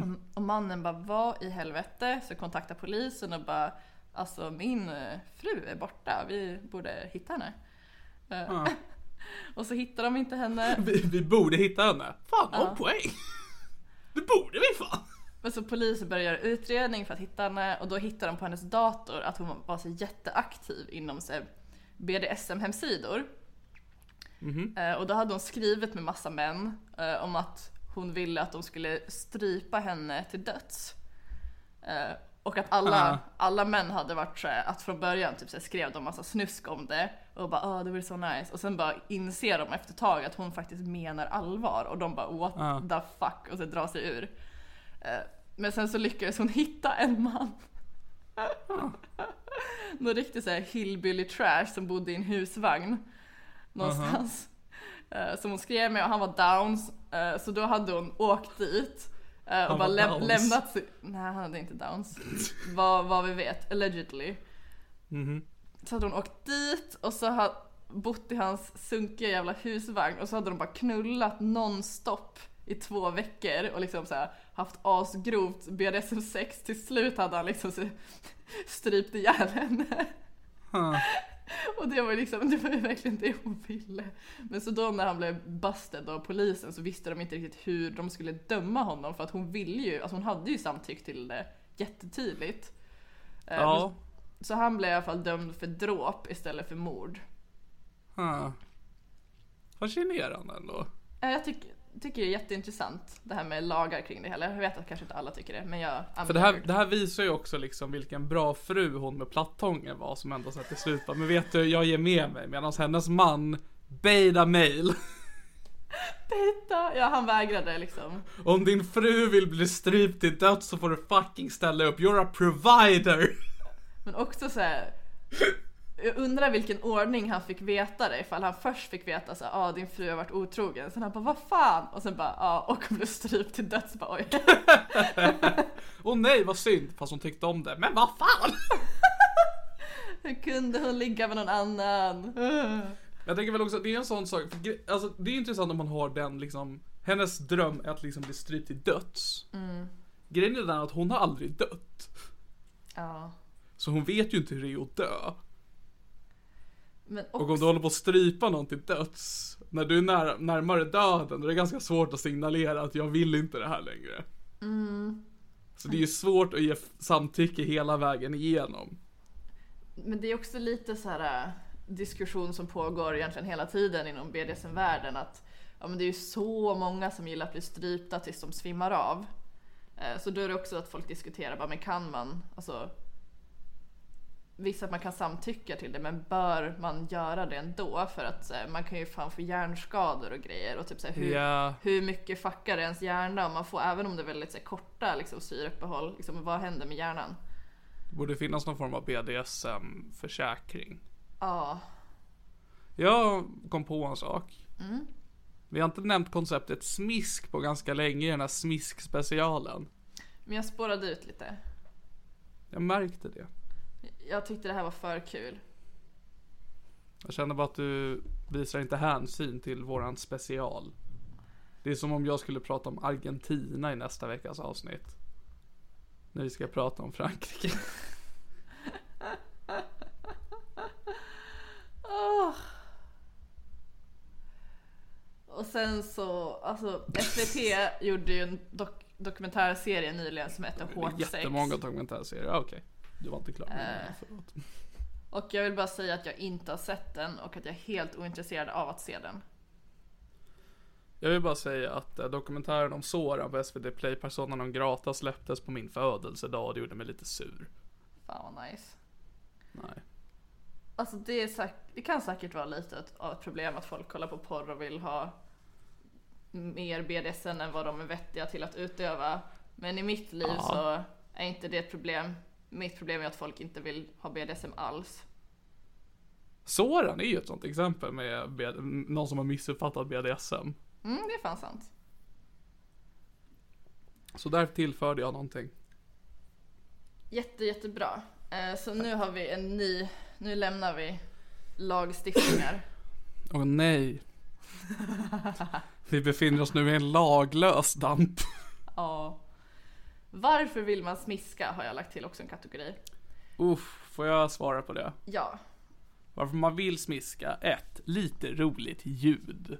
B: Och, och mannen bara, vad i helvete? Så kontaktade polisen och bara, alltså min eh, fru är borta, vi borde hitta henne. Eh, och så hittar de inte henne.
C: Vi, vi borde hitta henne. Fan, ja. poäng! Det borde vi fan!
B: Men så polisen börjar göra utredning för att hitta henne och då hittar de på hennes dator att hon var så jätteaktiv inom så här BDSM-hemsidor.
C: Mhm.
B: Eh, Och då hade hon skrivit med massa män eh, om att hon ville att de skulle strypa henne till döds. Eh, Och att alla,
C: Ah.
B: alla män hade varit så här, att från början typ så här, skrev de massa snusk om det och bara ah det vore så nice och sen bara inser de efter ett tag att hon faktiskt menar allvar och de bara what
C: Ah.
B: the fuck och så drar sig ur. Eh, Men sen så lyckades hon hitta en man. Någon riktig så här hillbilly trash som bodde i en husvagn någonstans. Eh, Som hon skrev med och han var downs. eh, Så då hade hon åkt dit eh, och
C: Han
B: bara
C: var
B: läm-
C: Downs.
B: lämnat sig. Nej han hade inte downs. vad, vad vi vet, allegedly.
C: Mhm.
B: Så hade hon åkt dit och så hade bott i hans sunkiga jävla husvagn och så hade de bara knullat nonstop i två veckor och liksom så här haft asgrovt BDSM-sex. Till slut hade han liksom så- strypt ihjäl henne. Och det var ju liksom, det var ju verkligen det hon ville. Men så då när han blev busted av polisen så visste de inte riktigt hur de skulle döma honom för att hon ville ju, alltså hon hade ju samtyckt till det jättetydligt. Eh,
C: Ja.
B: Så han blev i alla fall dömd för dråp istället för mord.
C: Huh. Fascinerande ändå.
B: Eh, Jag tycker, tycker det är jätteintressant det här med lagar kring det hela. Jag vet att kanske inte alla tycker det men jag
C: För det här, det här visar ju också liksom vilken bra fru hon med plattången var som ändå så här till slut bara, men vet du, jag ger med mig. Medan hennes man bejda mail.
B: Titta! Ja han vägrade liksom.
C: Om din fru vill bli strypt till döds så får du fucking ställa upp. You're a provider.
B: Men också så här. Jag undrar vilken ordning han fick veta det ifall han först fick veta så här, ah, din fru har varit otrogen. Sen han bara vad fan? Och sen bara ja och hon blev strypt till döds. Bara, Oj.
C: Åh nej, vad synd. Fast hon tyckte om det. Men vad fan!
B: Hur kunde hon ligga med någon annan?
C: Jag tänker väl också, det är en sån sak, för gre- alltså det är intressant om man har den liksom, hennes dröm är att liksom bli strypt till döds. Grejen är den att hon har aldrig dött.
B: Ja.
C: Så hon vet ju inte hur det är att dö.
B: Men
C: Och om du
B: också,
C: håller på att strypa någon till döds, när du är när, närmare döden, då är det ganska svårt att signalera att jag vill inte det här längre. Mm. Så det är ju svårt att ge f- samtycke hela vägen igenom.
B: men det är också lite så här äh, diskussion som pågår egentligen hela tiden inom BDSM-världen att ja, men det är ju så många som gillar att bli strypta tills de svimmar av. Eh, Så då är det också att folk diskuterar, bara, men kan man, alltså Visst att man kan samtycka till det men bör man göra det ändå? För att eh, man kan ju fan få hjärnskador och grejer och typ så här, hur,
C: Ja.
B: hur mycket fuckar ens hjärna om man får, även om det är väldigt så här, korta liksom, syreuppehåll, liksom, vad händer med hjärnan?
C: Det borde finnas någon form av BDSM-försäkring.
B: Ja,
C: Jag kom på en sak. Vi har inte nämnt konceptet smisk på ganska länge i den här smisk-specialen.
B: men jag spårade ut lite.
C: Jag märkte det.
B: Jag tyckte det här var för kul.
C: Jag känner bara att du visar inte hänsyn till våran special. Det är som om jag skulle prata om Argentina i nästa veckas avsnitt. När vi ska prata om Frankrike.
B: Åh. sen så, alltså SVT gjorde ju en dok- dokumentärserie nyligen som hette Hårt sex.
C: Jättemånga dokumentärserier. Ah, Okej, du var inte klar med den. Förlåt.
B: Och jag vill bara säga att jag inte har sett den och att jag är helt ointresserad av att se den.
C: Jag vill bara säga att eh, dokumentären om Soran på SVT Play, Persona non grata, släpptes på min födelsedag och det gjorde mig lite sur.
B: Fan vad nice.
C: Nej.
B: Alltså det, är säk- det kan säkert vara lite ett- av ett problem att folk kollar på porr och vill ha mer BDSM än vad de är vettiga till att utöva. Men i mitt liv
C: Ja.
B: så är inte det ett problem. Mitt problem är att folk inte vill ha BDSM alls.
C: Soran är ju ett sånt exempel med B- någon som har missuppfattat BDSM.
B: Mm, det är fan sant.
C: Så därför tillförde jag någonting.
B: Jätte, jättebra. Eh, Så nu har vi en ny, nu lämnar vi lagstiftningar.
C: Åh nej. Vi befinner oss nu i en laglös damp.
B: Ja. Varför vill man smiska har jag lagt till också en kategori.
C: Uff, får jag svara på det?
B: Ja,
C: Varför man vill smiska? 1. Lite roligt ljud.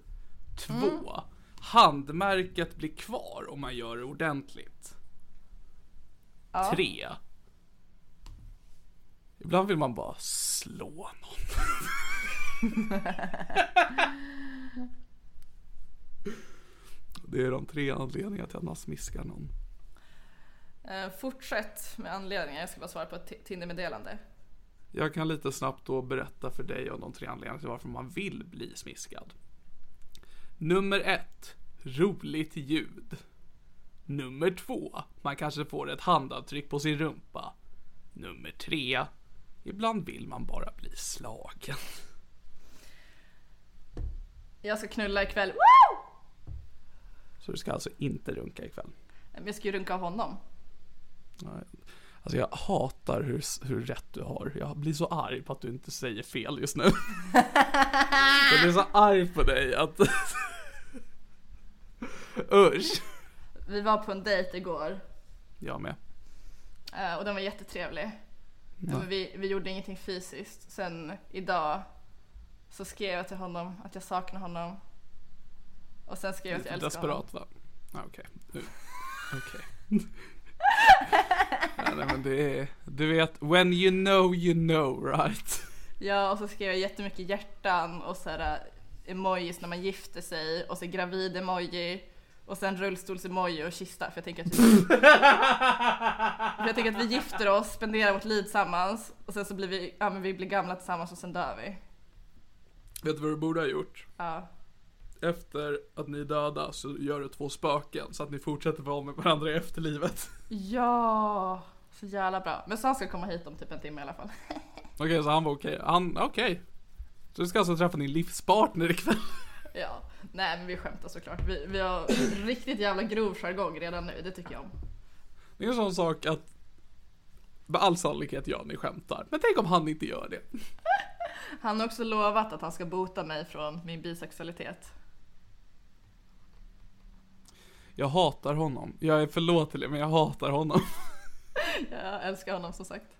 C: 2. Handmärket blir kvar om man gör det ordentligt. 3. Ibland vill man bara slå någon. Det är de tre anledningarna till att man smiskar någon.
B: eh, fortsätt med anledningar. Jag ska bara svara på ett Ti- Tinder-meddelande.
C: Jag kan lite snabbt då berätta för dig om de tre anledningarna till varför man vill bli smiskad. Nummer ett, roligt ljud. Nummer två, man kanske får ett handavtryck på sin rumpa. Nummer tre, ibland vill man bara bli slagen.
B: Jag ska knulla ikväll. Woo!
C: Så du ska alltså inte runka ikväll.
B: Men jag ska ju runka av honom.
C: Nej. Alltså jag hatar hur, hur rätt du har. Jag blir så arg på att du inte säger fel just nu. Jag blir så arg på dig att... Usch!
B: Vi var på en dejt igår
C: Jag med.
B: eh, och den var jättetrevlig. Men vi, vi gjorde ingenting fysiskt. Sen idag så skrev jag till honom att jag saknar honom. Och sen skrev jag att jag
C: Lite
B: älskar honom.
C: typ desperat va? Ah, Okej. Nu. Okej. Nej, nej men det är... Du vet, when you know you know right?
B: Ja, och så skrev jag jättemycket hjärtan och så här eh, emojis när man gifter sig och så gravid-emoji och sen rullstols-emoji och kista för jag tänker att vi, för jag tänker att vi gifter oss, spenderar vårt liv tillsammans och sen så blir vi, ja men vi blir gamla tillsammans och sen dör vi.
C: Vet du vad du borde ha gjort?
B: Ja.
C: Efter att ni är döda så gör du två spöken så att ni fortsätter vara med varandra i efterlivet.
B: Ja, så jävla bra. Men så han ska komma hit om typ en timme i alla fall.
C: Okej, så han var okej. Han, okej. Så du ska alltså träffa din livspartner ikväll?
B: Ja, nej men vi skämtar såklart. Vi, vi har riktigt jävla grov jargong redan nu, det tycker jag om.
C: Det är en sån sak att med all sannolikhet ja, ni skämtar. Men tänk om han inte gör det.
B: Han har också lovat att han ska bota mig från min bisexualitet.
C: Jag hatar honom. Jag är förlåtlig, men jag hatar honom.
B: Jag älskar honom som sagt.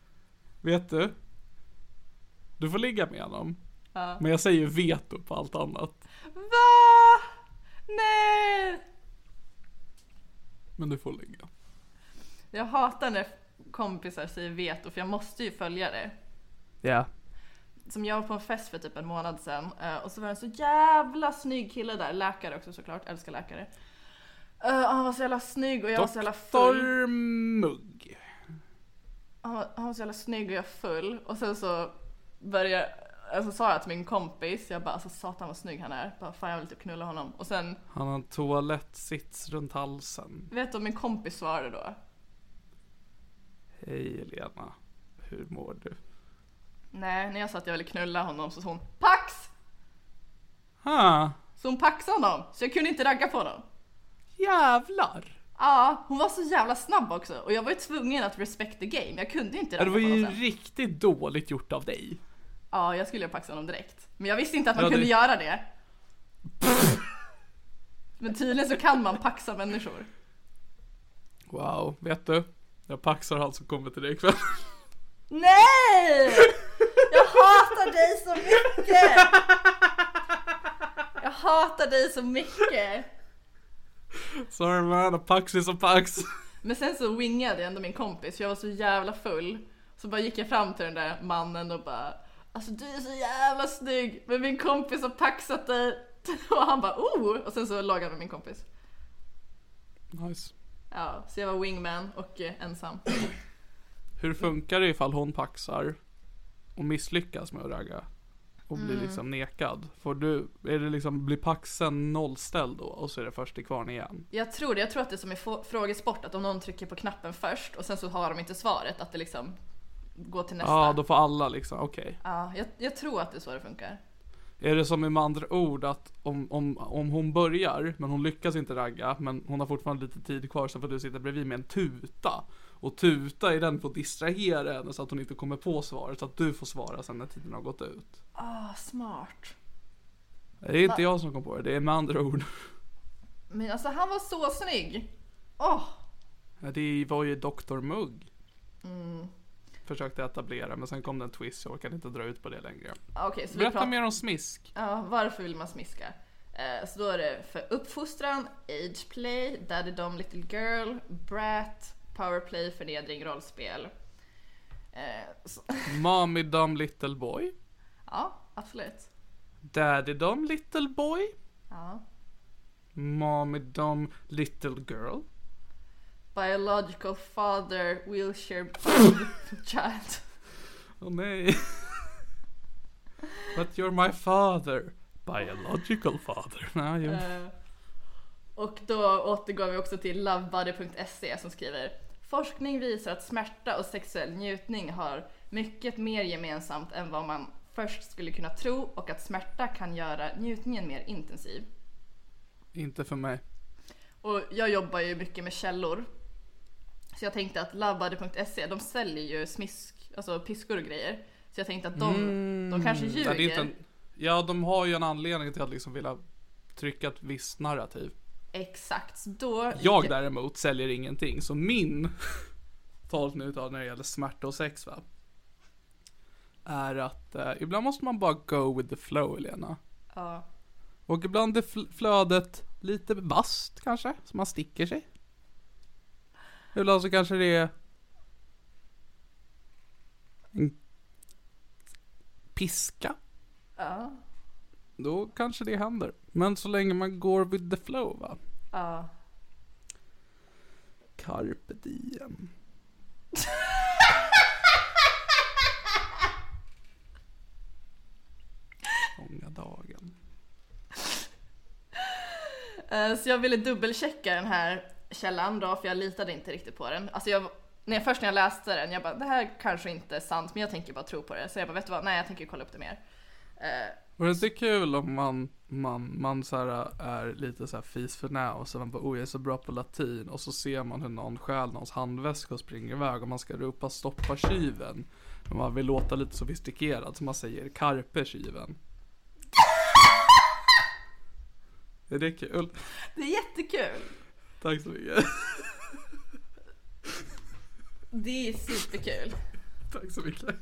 C: Vet du? Du får ligga med honom. Men jag säger veto på allt annat.
B: Va? Nej!
C: Men du får ligga.
B: Jag hatar när kompisar säger veto för jag måste ju följa det.
C: Ja.
B: Som jag var på en fest för typ en månad sedan eh, och så var det en så jävla snygg kille där, läkare också såklart, älskar läkare. Eh, och han var så jävla snygg och jag var så jävla full.
C: Doktor Mugg.
B: Han var, han var så jävla snygg och jag full och sen så började Alltså sa jag till min kompis, jag bara alltså satan vad snygg han är, bara, fan jag vill typ knulla honom. Och sen,
C: Han har en toalettsits runt halsen.
B: vet du vad min kompis svarade då?
C: Hej Elena. Hur mår du?
B: Nej, när jag sa att jag ville knulla honom så sa hon PAX!
C: Ha.
B: Så hon paxade honom, så jag kunde inte ragga på honom.
C: Jävlar.
B: Ja, hon var så jävla snabb också och jag var ju tvungen att respect the game. Jag kunde ju inte
C: Ja, det
B: ragga
C: var
B: på honom
C: ju
B: sen.
C: riktigt dåligt gjort av dig.
B: Ja, jag skulle ju paxa honom direkt. Men jag visste inte att man
C: Ja, det-
B: kunde göra det. Men tydligen så kan man paxa människor.
C: Wow, vet du? Jag paxar allt som kommer till dig ikväll.
B: Nej! Jag hatar dig så mycket! Jag hatar dig i så mycket.
C: Sorry man, a pax is a pax.
B: Men sen så wingade jag ändå min kompis för jag var så jävla full. Så bara gick jag fram till den där mannen och bara Alltså du är så jävla snygg men min kompis har paxat dig. Och han bara oh! Och sen så lagade han med min kompis.
C: Nice.
B: Ja, så jag var wingman och eh, ensam.
C: Hur funkar det ifall hon paxar och misslyckas med att ragga? Och blir liksom nekad? Får du, är det liksom, blir paxen nollställd då och så är det först till kvarn igen?
B: Jag tror det, jag tror att det är som i få- frågesport att om någon trycker på knappen först och sen så har de inte svaret att det liksom går till nästa.
C: Ja, då får alla liksom, okej.
B: Ja, jag, jag tror att det är så det funkar.
C: Är det som med andra ord att om, om, om hon börjar, men hon lyckas inte ragga, men hon har fortfarande lite tid kvar så får du sitta bredvid med en tuta. Och tuta är den för att distrahera henne så att hon inte kommer på svaret, så att du får svara sen när tiden har gått ut.
B: Ah, smart.
C: Det är inte jag som kom på det, det är med andra ord.
B: Men alltså han var så snygg! Åh!
C: Ja, Det var ju Dr. Mugg.
B: Mm.
C: Försökte etablera, men sen kom det en twist, jag orkade inte dra ut på det längre.
B: Okej, så vi
C: Berätta
B: pratar...
C: mer om smisk.
B: Ja, varför vill man smiska? Eh, Så då är det för uppfostran, age play, daddy dom little girl, brat, powerplay, förnedring, rollspel. Eh, Så...
C: Mommy Dumb Little Boy.
B: Ja, absolut.
C: Daddy Dumb Little Boy.
B: Ja.
C: Mommy Dumb Little Girl.
B: Biological father, wheelchair bound child.
C: Åh Oh, nej. But you're my father. Biological father. Nej, jo.
B: Eh, Och då återgår vi också till lovebody.se som skriver Forskning visar att smärta och sexuell njutning har mycket mer gemensamt än vad man först skulle kunna tro och att smärta kan göra njutningen mer intensiv.
C: Inte för mig.
B: Och jag jobbar ju mycket med källor. Så jag tänkte att lovebody.se, de säljer ju smisk, alltså piskor och grejer. Så jag tänkte att de, de kanske
C: Mm. Ja,
B: ljuger.
C: det är inte en... ja, de har ju en anledning till att liksom vilja trycka ett visst narrativ.
B: Exakt, så då...
C: Jag däremot säljer ingenting, så min tolkning utav när det gäller smärta och sex va. Är att eh, ibland måste man bara go with the flow Elena.
B: Ja.
C: Och ibland är fl- flödet lite vasst kanske, så man sticker sig. Ibland så kanske det är... En piska.
B: Ja.
C: Då kanske det händer. Men så länge man går with the flow va.
B: Ja.
C: Carpe diem. Långa dagen.
B: Eh, Så jag ville dubbelchecka den här källan då, för jag litade inte riktigt på den. Alltså jag, när jag, först när jag läste den, jag bara det här kanske inte är sant, men jag tänker bara tro på det. Så jag bara vet du vad, nej jag tänker kolla upp det mer. Eh,
C: Vore det inte kul om man, man, man så här är lite så här fis för nä och så man bara oh jag är så bra på latin och så ser man hur någon stjäl någons handväska och springer iväg och man ska ropa stoppa tjuven. Men man vill låta lite sofistikerad så man säger carpe tjuven. Är det kul?
B: det är jättekul!
C: Tack så mycket.
B: Det är superkul.
C: Tack så mycket.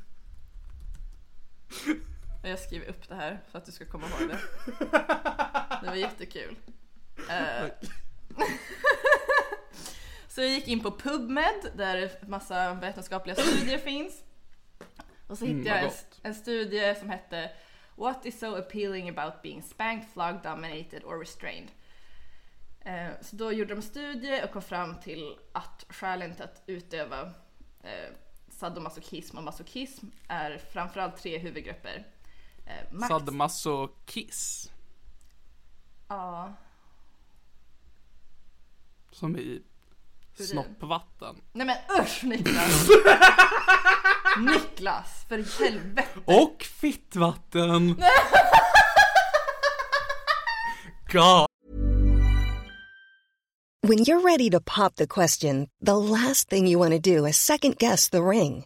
B: Och jag skriver upp det här för att du ska komma ihåg det. Det var jättekul. Eh, så jag gick in på PubMed där massa vetenskapliga studier finns. Och så hittade
C: Mm, vad
B: jag en,
C: gott.
B: en studie som hette What is so appealing about being spanked, flogged, dominated or restrained? Eh, Så då gjorde de studie och kom fram till att skälen till att utöva eh, sadomasochism och masochism är framförallt tre huvudgrupper. Eh, makt-
C: Sadomasochis.
B: Ja,
C: Som i snoppvatten.
B: Nej men usch Niklas! Niklas, för helvete!
C: Och fittvatten! God.
D: When you're ready to pop the question, the last thing you want to do is second guess the ring.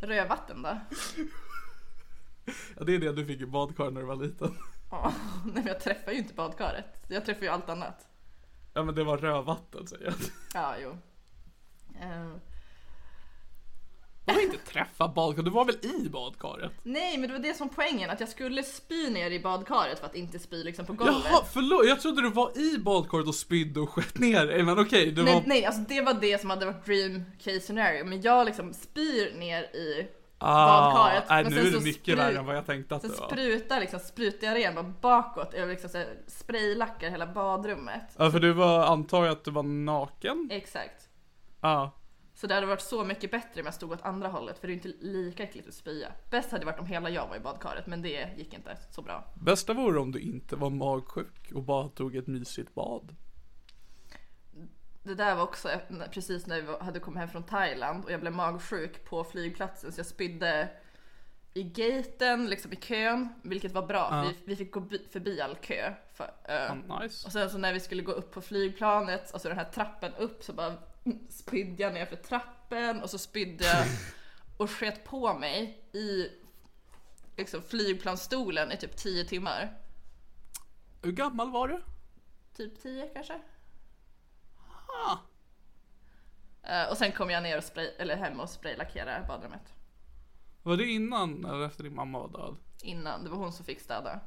B: Rödvatten då?
C: Ja, det är det du fick i badkar när du var liten.
B: Ja, nej men jag träffar ju inte badkaret. Jag träffar ju allt annat.
C: Ja men det var rödvatten säger jag.
B: Ja, jo. Ehm,
C: Du inte träffa badkaret, du var väl i badkaret?
B: nej, men det var det som var poängen. Att jag skulle spy ner i badkaret för att inte spy liksom på golvet.
C: Jaha, förlåt! Jag trodde du var i badkaret och spydde och sket ner dig, men okej, du
B: Nej,
C: var...
B: nej, alltså det var det som hade varit dream case scenario. Men jag liksom spyr ner i
C: Ah,
B: badkaret.
C: nej,
B: men
C: nu
B: sen
C: är det
B: så
C: mycket
B: sprut-
C: värre än vad jag tänkte att
B: Sen
C: det var.
B: sprutar, liksom, sprutar jag ren bara bakåt. Jag liksom så här spraylackar hela badrummet.
C: Ja, för du var, antar jag att du var naken?
B: Exakt.
C: Ja. Ah.
B: Så det hade varit så mycket bättre om jag stod åt andra hållet för det är ju inte lika äckligt att spya. Bäst hade det varit om hela jag var i badkaret men det gick inte så bra.
C: Bästa vore om du inte var magsjuk och bara tog ett mysigt bad.
B: Det där var också när- precis när vi hade kommit hem från Thailand och jag blev magsjuk på flygplatsen så jag spydde i gaten, liksom i kön, vilket var bra. för Vi, vi fick gå bi- förbi all kö. För, eh,
C: Ah, nice.
B: Och sen så när vi skulle gå upp på flygplanet, alltså den här trappen upp så bara spydde jag ner för trappen och så spydde jag och sket på mig i liksom flygplansstolen i typ 10 timmar.
C: Hur gammal var du?
B: Typ 10 kanske? Eh, Och sen kom jag ner och spray, eller hem och spraylackerade badrummet.
C: Var det innan eller efter din mamma var död?
B: Innan, det var hon som fick städa.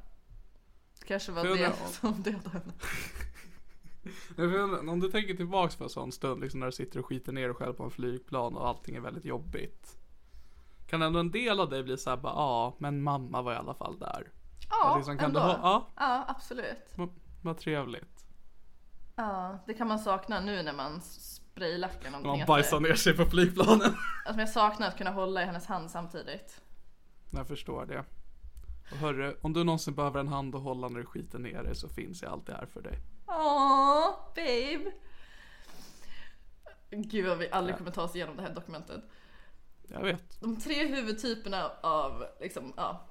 B: Det kanske var
C: Får jag
B: det
C: undra om-
B: som dödade henne.
C: Nej, för jag undrar, Om du tänker tillbaks på en sån stund, liksom när du sitter och skiter ner dig själv på en flygplan och allting är väldigt jobbigt. Kan ändå en del av dig bli såhär bara, ja, ah, men mamma var i alla fall där.
B: Ja,
C: liksom, kan
B: ändå.
C: du ha- ja.
B: ja, absolut.
C: Vad- Vad trevligt.
B: Ja, det kan man sakna nu när man spraylackar någonting.
C: Man
B: efter.
C: bajsar ner sig på flygplanen.
B: Alltså, men jag saknar att kunna hålla i hennes hand samtidigt.
C: Jag förstår det. Och hörru, om du någonsin behöver en hand att hålla när du skiter ner dig så finns jag alltid här för dig.
B: Åh, babe! Gud vad vi aldrig kommer ta oss igenom det här dokumentet.
C: Jag vet.
B: De tre huvudtyperna av liksom, ja,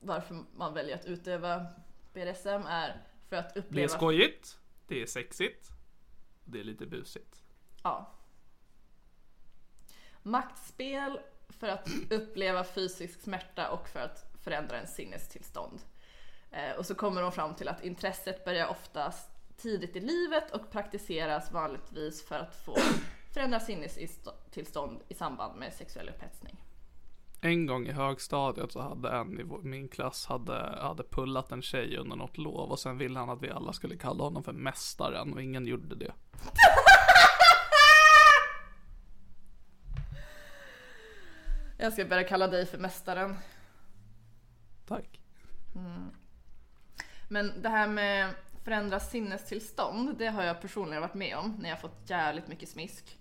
B: varför man väljer att utöva BDSM är för att
C: Det är
B: uppleva...
C: skojigt. Det är sexigt. Och det är lite busigt.
B: Ja. Maktspel för att uppleva fysisk smärta och för att förändra en sinnestillstånd. Eh, Och så kommer de fram till att intresset börjar oftast tidigt i livet och praktiseras vanligtvis för att få förändra sinnestillstånd i samband med sexuell upphetsning.
C: En gång i högstadiet så hade en i vår- min klass hade, hade pullat en tjej under något lov och sen ville han att vi alla skulle kalla honom för mästaren och ingen gjorde det.
B: Jag ska börja kalla dig för mästaren.
C: Tack.
B: Men det här med förändra sinnestillstånd, det har jag personligen varit med om när jag fått jävligt mycket smisk.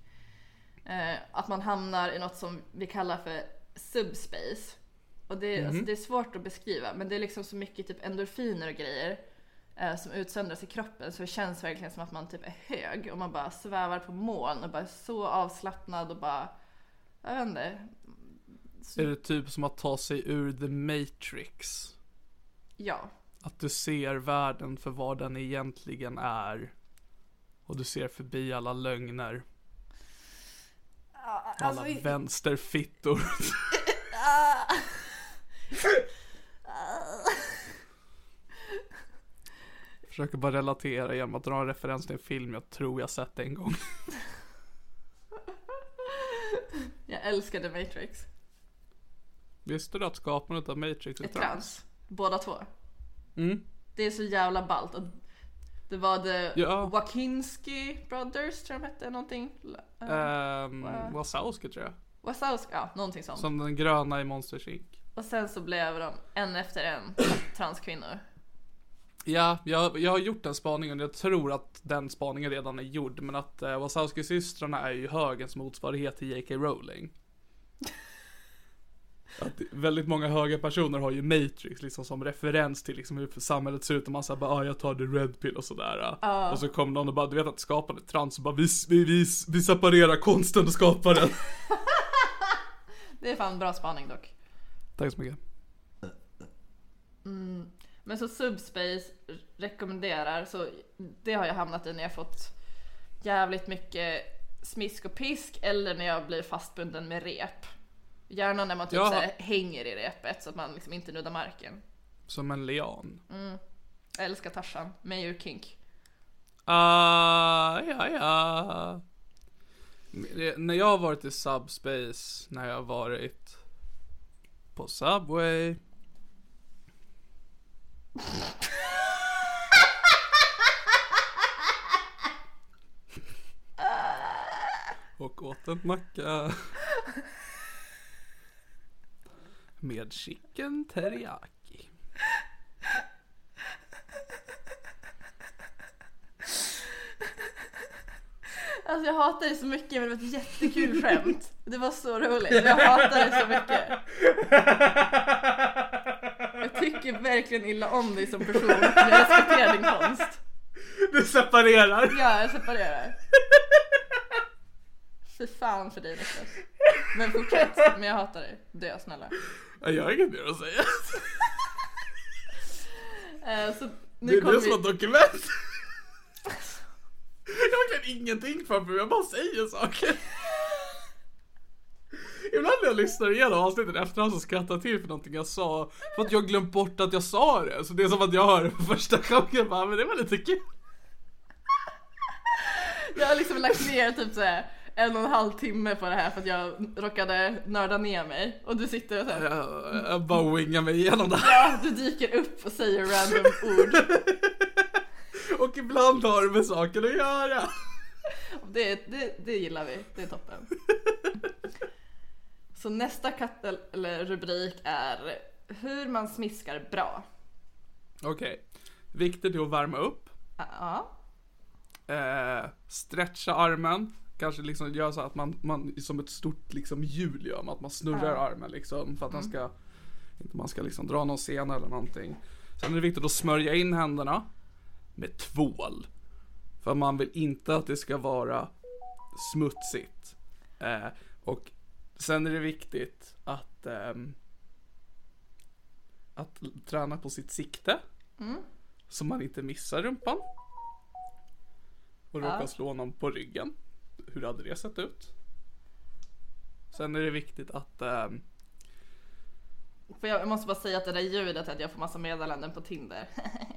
B: Eh, att man hamnar i något som vi kallar för subspace. Och det, alltså, det är svårt att beskriva men det är liksom så mycket typ endorfiner och grejer eh, som utsöndras i kroppen så det känns verkligen som att man typ är hög och man bara svävar på moln och bara är så avslappnad och bara, jag vet inte,
C: Är det typ som att ta sig ur the matrix?
B: ja.
C: Att du ser världen för vad den egentligen är. Och du ser förbi alla lögner.
B: alltså
C: Alla vänsterfittor. Försöker bara relatera genom att dra en referens till en film jag tror jag sett en gång.
B: Jag älskade Matrix.
C: Visste du att skapandet av Matrix är
B: Ett trans. Båda två.
C: Mm.
B: Det är så jävla ballt. Och det var The
C: Ja.
B: Wachinski Brothers tror jag de hette, någonting. Eh,
C: Ehm, Wazowski tror jag.
B: Wazowski, ja någonting sånt.
C: Som den gröna i Monsters Inc.
B: Och sen så blev de en efter en transkvinnor.
C: Ja, jag, jag har gjort den spaningen. Jag tror att den spaningen redan är gjord. Men att eh, Wazowski-systrarna är ju högens motsvarighet till J.K. Rowling. Att det- väldigt många höga personer har ju Matrix liksom som referens till liksom hur samhället ser ut och man säger bara ah, jag tar the red pill och sådär. Och så kom någon och bara du vet att skapande trans och bara vi, vi, vi, vi separerar konsten och skaparen.
B: Det är fan bra spaning dock.
C: Tack så mycket.
B: Men så Subspace rekommenderar, så det har jag hamnat i när jag fått jävligt mycket smisk och pisk eller när jag blir fastbunden med rep. Gärna när man typ
C: Jaha.
B: så här, hänger i repet så att man liksom inte nuddar marken.
C: Som en lian.
B: Jag älskar Tarzan, mig ur kink.
C: Ah, ja, ja. Det- När jag har varit i subspace, när jag har varit på Subway. Och åt en macka. Med chicken teriyaki.
B: Alltså jag hatar dig så mycket men det var ett jättekul skämt. Det var så roligt, jag hatar dig så mycket. Jag tycker verkligen illa om dig som person, men jag respekterar din konst.
C: Du separerar.
B: Ja, jag separerar. Fy fan för dig Niklas. Men fortsätt, men jag hatar dig. Dö snälla.
C: Ja, Jag har inget mer att säga.
B: Eh, så
C: Det
B: nu
C: är
B: kommer
C: det som är
B: vi...
C: dokument. Jag har verkligen ingenting framför mig, jag bara säger saker. Ibland när jag lyssnar igenom avsnittet efterhand så skrattar jag till för någonting jag sa. För att jag har glömt bort att jag sa det. Så det är som att jag hör det för första gången bara, men det var lite kul.
B: Jag har liksom lagt ner typ så här en och en halv timme på det här för att jag råkade nörda ner mig. Och du sitter och så här,
C: Jag, jag bara wingar mig igenom det här.
B: ja, du dyker upp och säger random ord.
C: Och ibland har det med saker att göra.
B: Det, det, det gillar vi, det är toppen. Så nästa katt eller rubrik är hur man smiskar bra.
C: Okej. Viktigt är att värma upp.
B: Ja,
C: eh, stretcha armen. Kanske liksom gör så att man, man som ett stort liksom hjul gör man, att man snurrar armen liksom för att den ska, inte man ska liksom dra någon sena eller någonting. Sen är det viktigt att smörja in händerna med tvål. För man vill inte att det ska vara smutsigt. Eh, och sen är det viktigt att, ehm, att l- träna på sitt sikte. Så man inte missar rumpan. Och råkar slå någon på ryggen. Hur hade det sett ut? Sen är det viktigt att... ehm,
B: För jag måste bara säga att det där ljudet att jag får massa meddelanden på Tinder.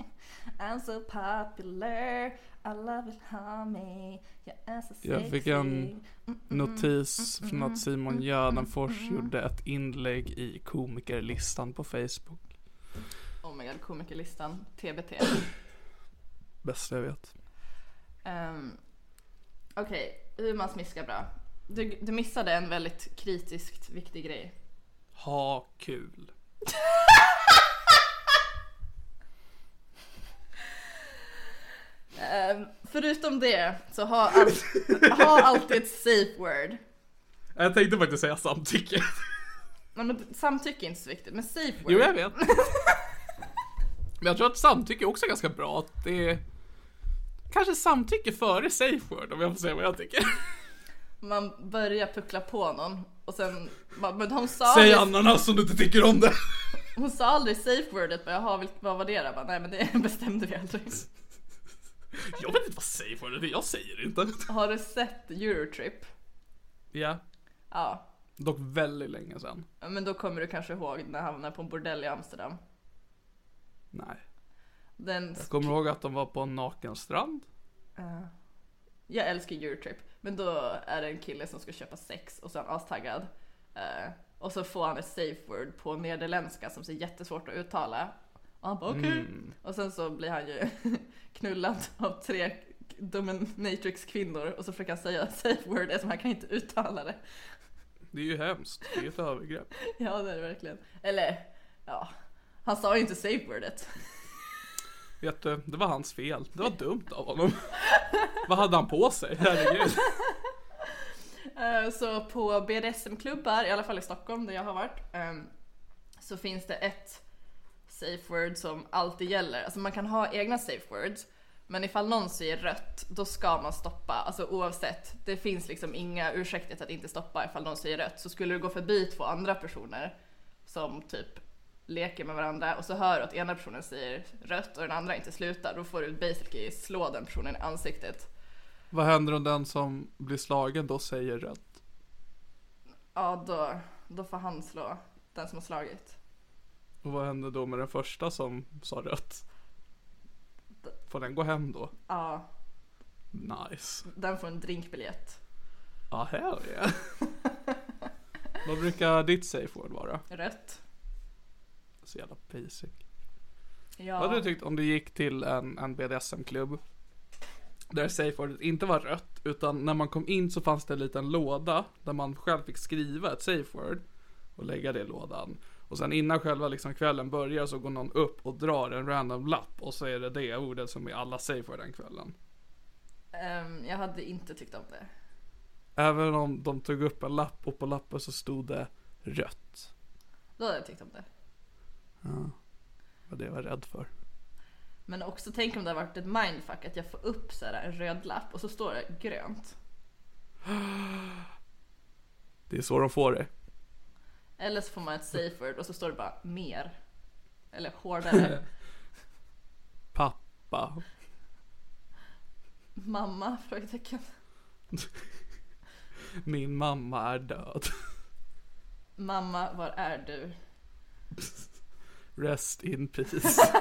B: I'm so popular, alla vill ha mig, jag är så sexy.
C: Jag fick en notis från att Simon Gärdenfors gjorde ett inlägg i komikerlistan på Facebook.
B: Oh my god, komikerlistan, TBT.
C: Bästa jag vet.
B: Ehm, Okej, hur man smiskar bra. Du, du missade en väldigt kritiskt viktig grej.
C: Ha kul.
B: Ehm, förutom det så ha, all- ha alltid ett safe word.
C: Jag tänkte faktiskt säga samtycke.
B: Men, men, samtycke är inte så viktigt, men safe word.
C: Jo, jag vet. Men jag tror att samtycke också är ganska bra. Att det är... Kanske samtycke före safe word om jag får säga vad jag tycker.
B: Man börjar puckla på någon och sen, man, men hon sa
C: Säg
B: det-
C: ananas om du inte tycker om det.
B: Hon sa aldrig safe wordet, men jaha, vilk- vad var det då? Jag Bara, Nej men det bestämde vi aldrig.
C: Jag vet inte vad safe word är, jag säger det inte.
B: Har du sett Eurotrip?
C: Ja,
B: Ja.
C: dock väldigt länge sedan.
B: Men då kommer du kanske ihåg när han hamnade på en bordell i Amsterdam.
C: Nej.
B: Den,
C: Jag kommer ihåg att de var på en naken strand.
B: jag älskar Eurotrip. Men då är det en kille som ska köpa sex och så är han astaggad. Eh, och så får han ett safe word på nederländska som är jättesvårt att uttala. Och han bara okej. Och sen så blir han ju knullad av tre dominatrix-kvinnor och så försöker han säga safe word eftersom han kan inte uttala det.
C: Det är ju hemskt, det är ett övergrepp.
B: Ja det är det verkligen. Eller ja, han sa ju inte safe wordet.
C: Vet du, det var hans fel. Det var dumt av honom. Vad hade han på sig? Herregud.
B: Eh, Så på BDSM-klubbar, i alla fall i Stockholm där jag har varit, ehm, så finns det ett safe word som alltid gäller. Alltså man kan ha egna safe words, men ifall någon säger rött, då ska man stoppa. Alltså oavsett, det finns liksom inga ursäkter till att inte stoppa ifall någon säger rött. Så skulle du gå förbi två andra personer som typ leker med varandra och så hör du att ena personen säger rött och den andra inte slutar, då får du basically slå den personen i ansiktet.
C: Vad händer om den som blir slagen då säger rött?
B: Ja, då, då får han slå den som har slagit.
C: Och vad händer då med den första som sa rött? Får den gå hem då?
B: Ja,
C: Nice.
B: den får en drinkbiljett.
C: Ja, hell yeah. Vad brukar ditt safe word vara?
B: Rött.
C: Så jävla basic.
B: Ja.
C: Vad hade du tyckt om du gick till en, en BDSM-klubb? Där safewordet inte var rött, utan när man kom in så fanns det en liten låda där man själv fick skriva ett safeword och lägga det i lådan. Och sen innan själva liksom kvällen börjar så går någon upp och drar en random lapp och så är det det ordet som är alla safeword den kvällen.
B: Ehm, jag hade inte tyckt om det.
C: Även om de tog upp en lapp och på lappen så stod det rött.
B: Då hade jag tyckt om det.
C: Vad det var jag rädd för.
B: Men också tänk om det hade varit ett mindfuck att jag får upp så här en röd lapp och så står det grönt.
C: Det är så de får det.
B: Eller så får man ett safe word och så står det bara mer. Eller hårdare.
C: Pappa.
B: Mamma? Frågetecken.
C: Min mamma är död.
B: Mamma, var är du?
C: Rest in peace.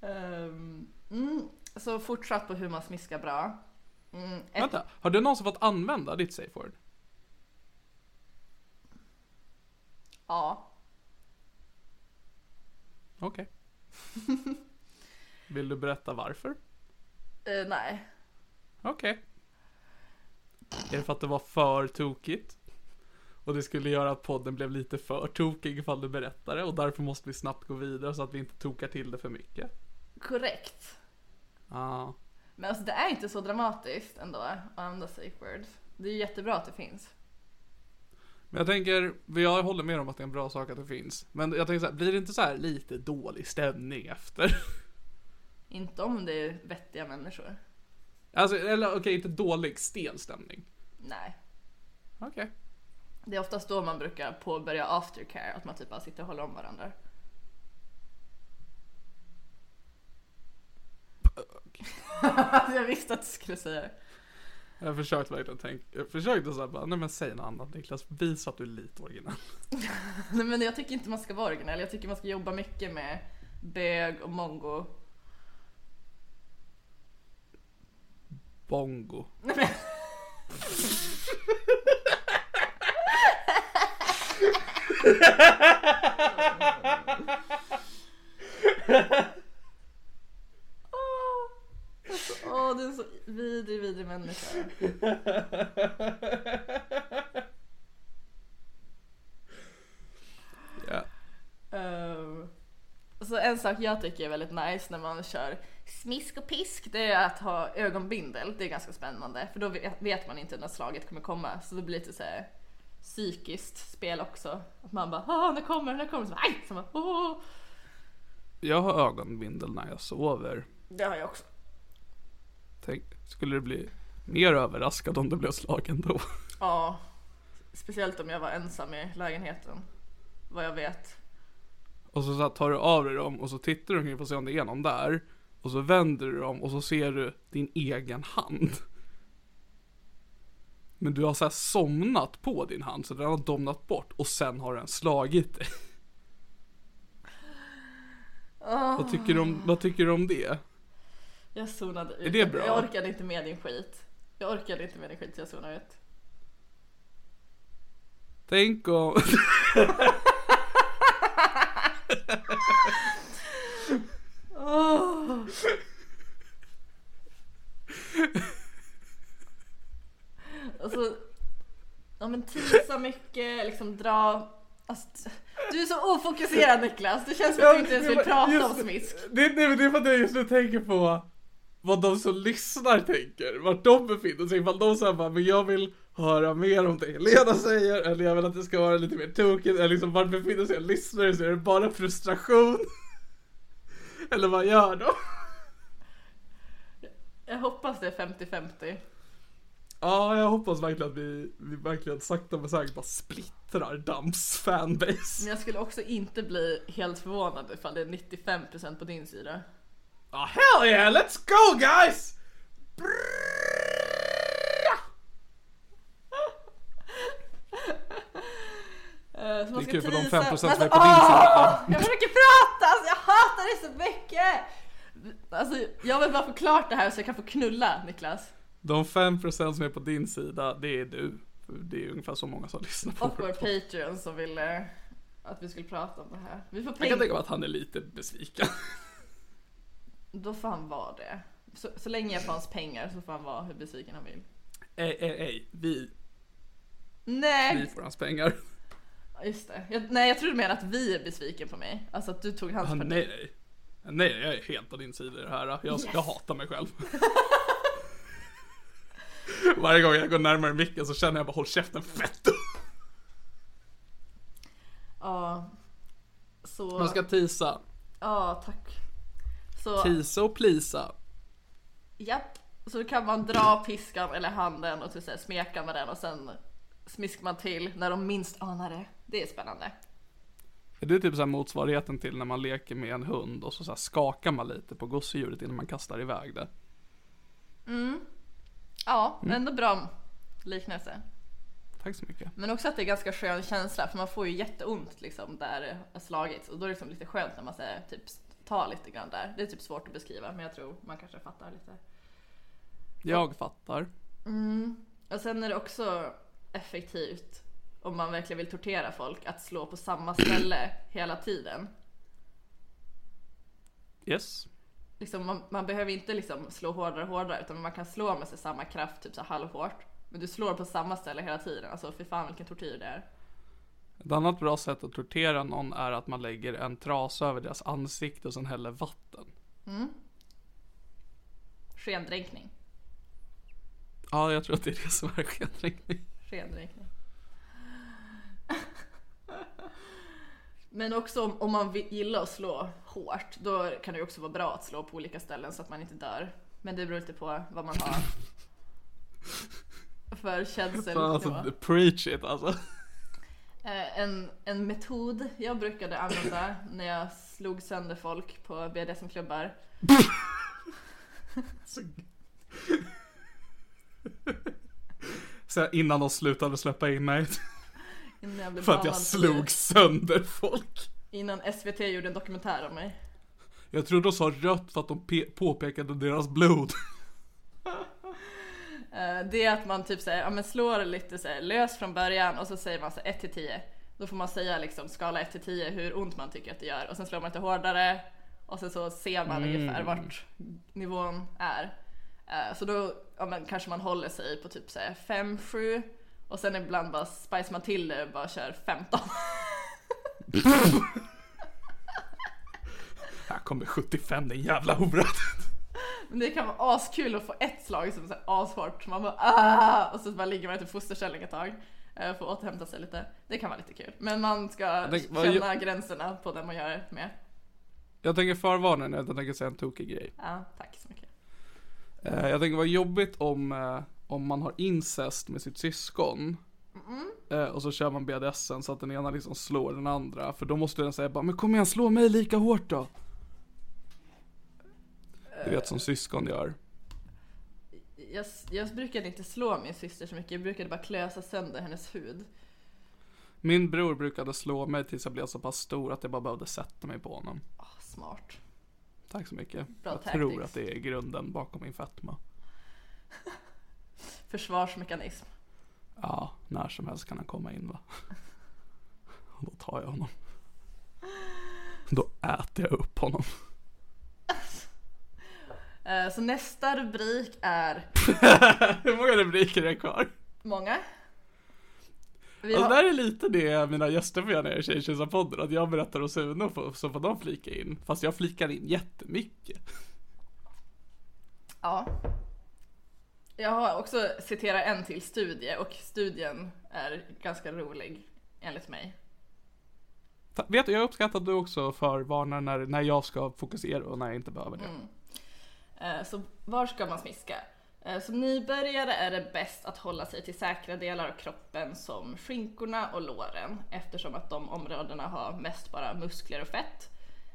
B: Ehm, mm, så fortsatt på hur man smiskar bra. Mm, ett-
C: Vänta, har du någonsin fått använda ditt safe word?
B: Ja.
C: Okej. Vill du berätta varför?
B: Eh, nej.
C: Okej. Är det för att det var för tokigt? Och det skulle göra att podden blev lite för tokig ifall du berättar det och därför måste vi snabbt gå vidare så att vi inte tokar till det för mycket.
B: Korrekt.
C: Ah.
B: Men alltså det är inte så dramatiskt ändå att använda safe words. Det är ju jättebra att det finns.
C: Men jag tänker, jag håller med om att det är en bra sak att det finns. Men jag tänker så här, blir det inte så här lite dålig stämning efter?
B: Inte om det är vettiga människor.
C: Alltså, eller okej, inte dålig, stel stämning.
B: Nej.
C: Okej.
B: Det är oftast då man brukar påbörja aftercare, att man typ bara sitter och håller om varandra. jag visste att du skulle säga det.
C: Jag försökte verkligen tänka, jag försökte såhär bara, nej men säg något annat Niklas, visa att du är lite originell.
B: Nej men jag tycker inte man ska vara originell, jag tycker man ska jobba mycket med bög och mongo.
C: Bongo.
B: Åh, du är en så vidrig, vidrig människa.
C: Ja.
B: Ehm, så en sak jag tycker är väldigt nice när man kör smisk och pisk, det är att ha ögonbindel. Det är ganska spännande, för då vet- vet man inte när slaget kommer komma. Så det blir lite så här psykiskt spel också. Att man bara ah, när kommer när kommer? Så bara, Aj! Så bara, Åh!
C: Jag har ögonbindel när jag sover.
B: Det har jag också.
C: Tänk, skulle du bli mer överraskad om du blev slagen då?
B: Ja. Speciellt om jag var ensam i lägenheten. Vad jag vet.
C: Och så, så här, tar du av dig dem och så tittar du omkring för att se om det är någon där. Och så vänder du dem och så ser du din egen hand. Men du har så här somnat på din hand så den har domnat bort och sen har den slagit dig. Vad, tycker du om, vad tycker du om det?
B: Jag zonade ut.
C: Är det bra?
B: Jag orkade inte med din skit. Jag orkade inte med din skit så jag zonade ut.
C: Tänk om...
B: Alltså, ja men tisa mycket, liksom dra, alltså, t- Du är så ofokuserad Niklas, det känns som att du inte ens vill prata
E: Just-
B: om smisk.
E: Det, det, det är för att jag just nu tänker på vad de som lyssnar tänker, vart de befinner sig. Ifall de säger bara, men jag vill höra mer om det Helena säger, eller jag vill att det ska vara lite mer tokigt, eller liksom vart befinner sig en lyssnare så är det bara frustration. eller vad gör de?
B: Jag hoppas det är 50-50.
E: Ja, jag hoppas verkligen att vi, vi verkligen sakta men säkert bara splittrar Dams fanbase.
B: Men jag skulle också inte bli helt förvånad ifall det är 95% på din sida.
E: Ah, hell yeah, let's go guys!
B: Eh, Så man
C: Det är
B: ska
C: kul för de
B: trisa-
C: 5% som är på
B: Alltså,
C: din sida.
B: Jag försöker prata! Alltså, jag hatar det så mycket! Alltså, jag vill bara få klart det här så jag kan få knulla Niklas.
E: De 5% som är på din sida, det är du. För Det är ungefär så många som lyssnar på
B: Och vår
E: vår podd.
B: Patreon som ville att vi skulle prata om det här. Vi får
E: Jag kan
B: pengar.
E: tänka mig att han är lite besviken.
B: Då får han vara det. Så, så länge jag får hans pengar så får han vara hur besviken han vill.
E: Ej, ej, ej. Vi, vi
B: Nej!
E: får hans pengar.
B: Alltså, Just det. Jag, nej jag tror du menar att vi är besviken på mig. Alltså att du tog hans
E: Ah, nej,
B: parti.
E: nej. Nej, jag är helt på din sida i det här. Jag, jag hatar mig själv. Varje gång jag går närmare micken så känner jag bara håll käften fett.
B: Ja. Så...
E: Man ska tisa.
B: Ja, tack. Så,
E: Tisa och plisa.
B: japp. Så kan man dra piskan eller handen och typ så här smeka med den och sen smiskar man till när de minst anar det. Det är spännande.
C: Är det typ så här motsvarigheten till när man leker med en hund och så, så här skakar man lite på gosedjuret innan man kastar iväg det?
B: Ja, ändå bra liknelse.
C: Tack så mycket.
B: Men också att det är ganska skön känsla för man får ju jätteont liksom där det har slagits och då är det liksom lite skönt när man säger typ ta lite grann där. Det är typ svårt att beskriva men jag tror man kanske fattar lite.
C: Jag fattar.
B: Och sen är det också effektivt om man verkligen vill tortera folk att slå på samma ställe hela tiden.
C: Yes.
B: Liksom, man, man behöver inte liksom slå hårdare och hårdare utan man kan slå med sig samma kraft typ så här halvhårt. Men du slår på samma ställe hela tiden. Alltså fy fan vilken tortyr det är.
C: Ett annat bra sätt att tortera någon är att man lägger en trasa över deras ansikte och sen häller vatten.
B: Skendränkning.
C: Ja, jag tror att det är det som är skendränkning.
B: Skendränkning. Men också om, om man vill- gillar att slå hårt, då kan det ju också vara bra att slå på olika ställen så att man inte dör. Men det beror lite på vad man har för
C: Fan,
B: känselnivå.
C: Alltså, preach it alltså.
B: Eh, en, en metod jag brukade använda när jag slog sönder folk på BDSM-klubbar.
C: Så här, innan de slutade släppa in mig.
B: Innan jag blev
C: För att jag
B: bannad
C: slog sönder folk.
B: Innan SVT gjorde en dokumentär om mig.
C: Jag tror de sa rött för att de pe- påpekade deras blod.
B: Eh, Det är att man typ säger, ja men slår lite så här, lös från början och så säger man så här 1 till 10. Då får man säga liksom skala 1 till 10 hur ont man tycker att det gör och sen slår man lite hårdare och sen så ser man ungefär vart nivån är. Eh, Så då ja, men kanske man håller sig på typ 5-7 och sen ibland bara spice man till det och bara kör 15.
C: Här kommer 75 den jävla horan.
B: Men det kan vara askul att få ett slag som är så här ashårt. Man bara ah! Och så bara ligger man i typ fosterställning ett tag. eh, För att återhämta sig lite. Det kan vara lite kul. Men man ska
C: tänker, vad
B: känna gränserna på det man gör det med.
C: Jag tänker förvarna nu, jag tänker säga en tokig grej.
B: Ja, tack så mycket.
C: Eh, jag tänker vad jobbigt om, eh, om man har incest med sitt syskon. Eh, och så kör man BDSen så att den ena liksom slår den andra. För då måste den säga bara, men kom igen slå mig lika hårt då. Du vet som syskon gör.
B: Jag, jag brukade inte slå min syster så mycket. Jag brukade bara klösa sönder hennes hud.
C: Min bror brukade slå mig tills jag blev så pass stor att jag bara behövde sätta mig på honom.
B: Ah, smart.
C: Tack så mycket.
B: Bra
C: jag tror
B: tactics.
C: att det är grunden bakom min fetma.
B: Försvarsmekanism.
C: Ja, när som helst kan han komma in va. Och då tar jag honom. Då äter jag upp honom.
B: Eh, Så nästa rubrik är
C: Hur många rubriker är kvar?
B: många. Vi
C: Alltså,
B: har-
C: det här är lite det mina gäster får göra när jag är i podden att jag berättar om Sune och får- så får de flika in. Fast jag flikar in jättemycket.
B: Ja. Jag har också citerat en till studie och studien är ganska rolig enligt mig.
C: Ta- Vet du, jag uppskattar att du också förvarnar när, när jag ska fokusera och när jag inte behöver
B: Mm.
C: det.
B: Eh, Så var ska man smiska? Eh, Som nybörjare är det bäst att hålla sig till säkra delar av kroppen som skinkorna och låren eftersom att de områdena har mest bara muskler och fett.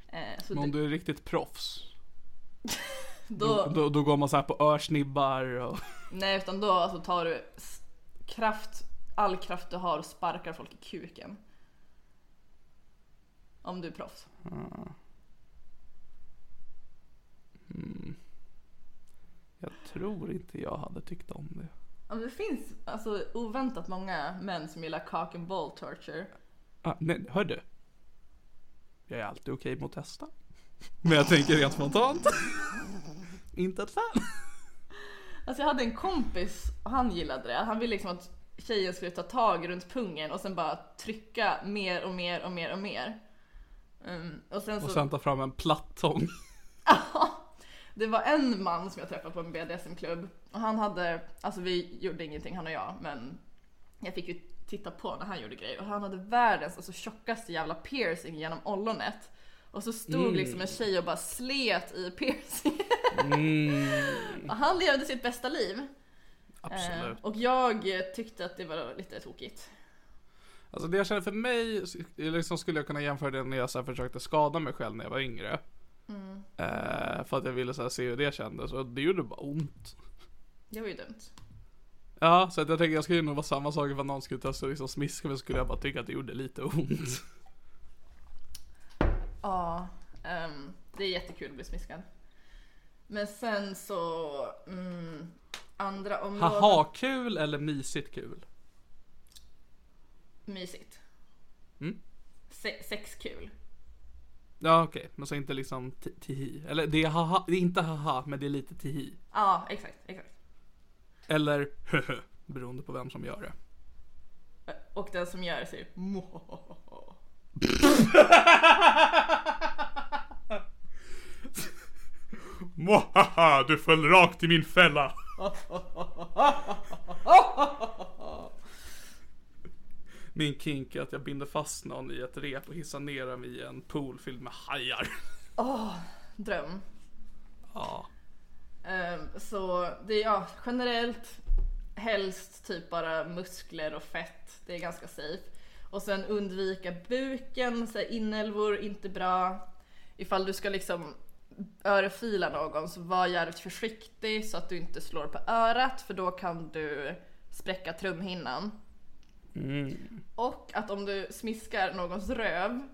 B: Eh, Så
C: Men om
B: det,
C: du är riktigt proffs,
B: då,
C: då, då går man så här på örsnibbar och...
B: nej, utan då så tar du s- kraft, all kraft du har och sparkar folk i kuken. Om du är proffs.
C: Jag tror inte jag hade tyckt om det.
B: Ja, men det finns alltså, oväntat många män som gillar cock and ball torture.
C: Ah, nej, hör du? Jag är alltid okej mot att testa. Men jag tänker rent spontant. inte ett fan.
B: Alltså jag hade en kompis och han gillade det. Han ville liksom att tjejen skulle ta tag runt pungen och sen bara trycka mer och mer och mer och mer. Mm, och sen så,
C: Och sen ta fram en plattång.
B: det var en man som jag träffade på en BDSM-klubb och han hade, alltså vi gjorde ingenting han och jag men jag fick ju titta på när han gjorde grejer och han hade världens alltså, tjockaste jävla piercing genom ollonet. Och så stod liksom en tjej och bara slet i piercingen. och han levde sitt bästa liv. Eh,
C: Absolut.
B: och jag eh, tyckte att det var lite tokigt.
C: Alltså det jag känner för mig, liksom skulle jag kunna jämföra det när jag så här försökte skada mig själv när jag var yngre. Eh, för att jag ville så här se hur det kändes och det gjorde bara ont.
B: Det var ju dumt.
C: Ja, så att jag tänker jag skulle nog vara samma sak ifall någon skulle testa att liksom smiska mig så skulle jag bara tycka att det gjorde lite ont.
B: Ja, ehm, det är jättekul att bli smiskad. Men sen så... Mm, andra områden.
C: Haha kul eller mysigt kul?
B: Mysigt.
C: Mm.
B: Se- sexkul.
C: Ja okej, men så inte liksom ti- tihi. Eller det är haha, det är inte haha men det är lite tihi.
B: Ja, exakt. exakt.
C: Eller höhö, beroende på vem som gör det.
B: Och den som gör det säger "Må."
C: Mohaha, du föll rakt i min fälla. Min kink är att jag binder fast någon i ett rep och hissar ner dem i en pool fylld med hajar.
B: Dröm.
C: Ja.
B: Ehm, så det är ja, generellt helst typ bara muskler och fett. Det är ganska safe. Och sen undvika buken, så här inälvor, inte bra. Ifall du ska liksom örfila någon så var jävligt försiktig så att du inte slår på örat för då kan du spräcka trumhinnan.
C: Mm.
B: Och att om du smiskar någons röv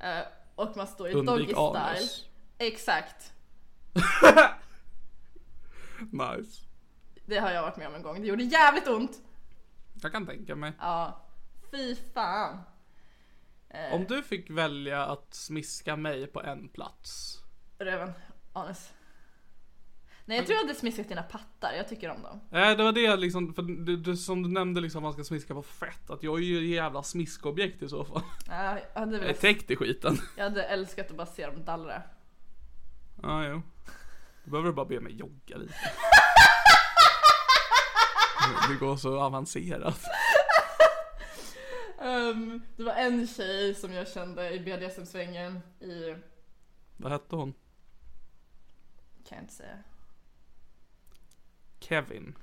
B: eh, och man står i doggy
C: Undvik
B: style.
C: anus.
B: Exakt.
C: Nice.
B: Det har jag varit med om en gång. Det gjorde jävligt ont.
C: Jag kan tänka mig.
B: Ja, fy fan.
C: Om du fick välja att smiska mig på en plats.
B: Röven, anus. Nej jag tror jag hade smiskat dina pattar, jag tycker om dem.
C: Nej det var det liksom, för du, du, som du nämnde liksom man ska smiska på fett. Att jag är ju ett jävla smiskobjekt i så fall.
B: Ja, Jag hade,
C: Jag är
B: väl,
C: täckt i skiten.
B: jag hade älskat att bara se dem dallra.
C: Ja, jo. Då behöver du bara be mig jogga lite. Det går så avancerat.
B: Ehm, det var en tjej som jag kände i BDSM-svängen i,
C: Vad hette hon?
B: kan jag inte säga,
C: Kevin.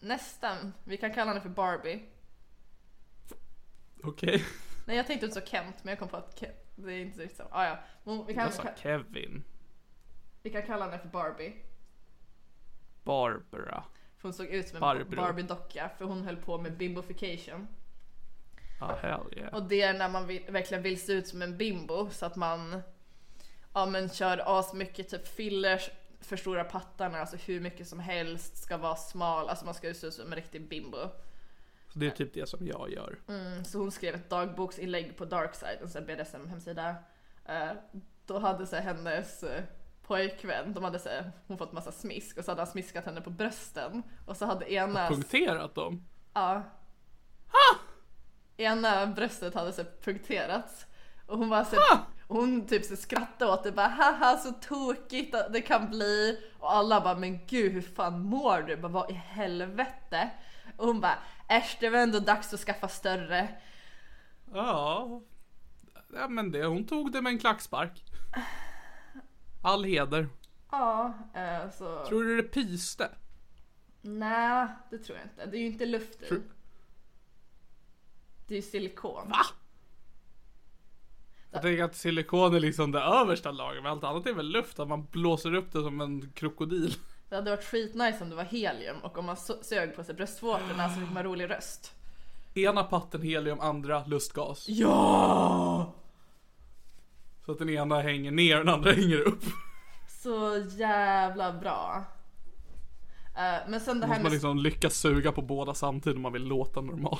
B: nästan, vi kan kalla henne för Barbie.
C: Okej.
B: Nej jag tänkte också Kent men jag kom på att Kent, det är inte riktigt så. Ah, ja. Men vi, kan,
C: Jag sa Kevin.
B: vi kan kalla henne för Barbie.
C: Barbara.
B: För hon såg ut som en
C: Barbro.
B: Barbie-docka för hon höll på med bimbofication.
C: Ah, hell yeah.
B: Och det är när man vill, verkligen vill se ut som en bimbo så att man ja, men kör asmycket typ fillers, förstora pattarna, alltså hur mycket som helst, ska vara smal, alltså man ska se ut som en riktig bimbo.
C: Så det är typ det som jag gör.
B: Mm, Så hon skrev ett dagboksinlägg på Darkside, en sån här BDSM-hemsida. Eh, Då hade så här, hennes eh, pojkvän, de hade så här, hon fått massa smisk och så hade han smiskat henne på brösten. Och så hade ena...
C: Punkterat dem.
B: Ja. Ena bröstet hade så här punkterats. Och hon bara så och hon typ så skrattade åt det bara haha så tokigt det kan bli. Och alla bara men gud hur fan mår du? Bara, Vad i helvete? Och hon bara äsch det var ändå dags att skaffa större.
C: Ja. ja men det, hon tog det med en klackspark. All heder.
B: Ja, eh, så
C: Tror du det pyste?
B: nej det tror jag inte. Det är ju inte luft i.
C: Tror-
B: Det är ju silikon.
C: Va? Jag tänker att silikon är liksom det översta lagret, men allt annat är väl luft, att man blåser upp det som en krokodil.
B: Det hade varit skitnice om det var helium och om man so- sög på sig bröstvårtorna så fick man rolig röst.
C: Ena patten helium, andra lustgas.
B: Ja!
C: Så att den ena hänger ner och den andra hänger upp.
B: Så jävla bra. Eh, men sen det här
C: Måste man
B: med...
C: liksom lyckas suga på båda samtidigt om man vill låta normal.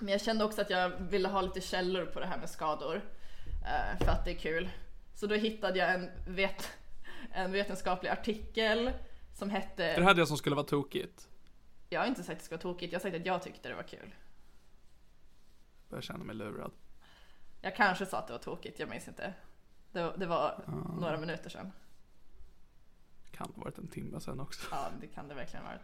B: Men jag kände också att jag ville ha lite källor på det här med skador. eh, För att det är kul. Så då hittade jag en, vet, en vetenskaplig artikel som
C: Det
B: hette...
C: här är det som skulle vara tokigt.
B: Jag har inte sagt att det ska vara tokigt, jag har sagt att jag tyckte det var kul.
C: Jag känner mig lurad.
B: Jag kanske sa att det var tokigt, jag minns inte. Det, det var några minuter sedan.
C: Kan ha varit en timme sen också.
B: Ja, det kan det verkligen ha varit.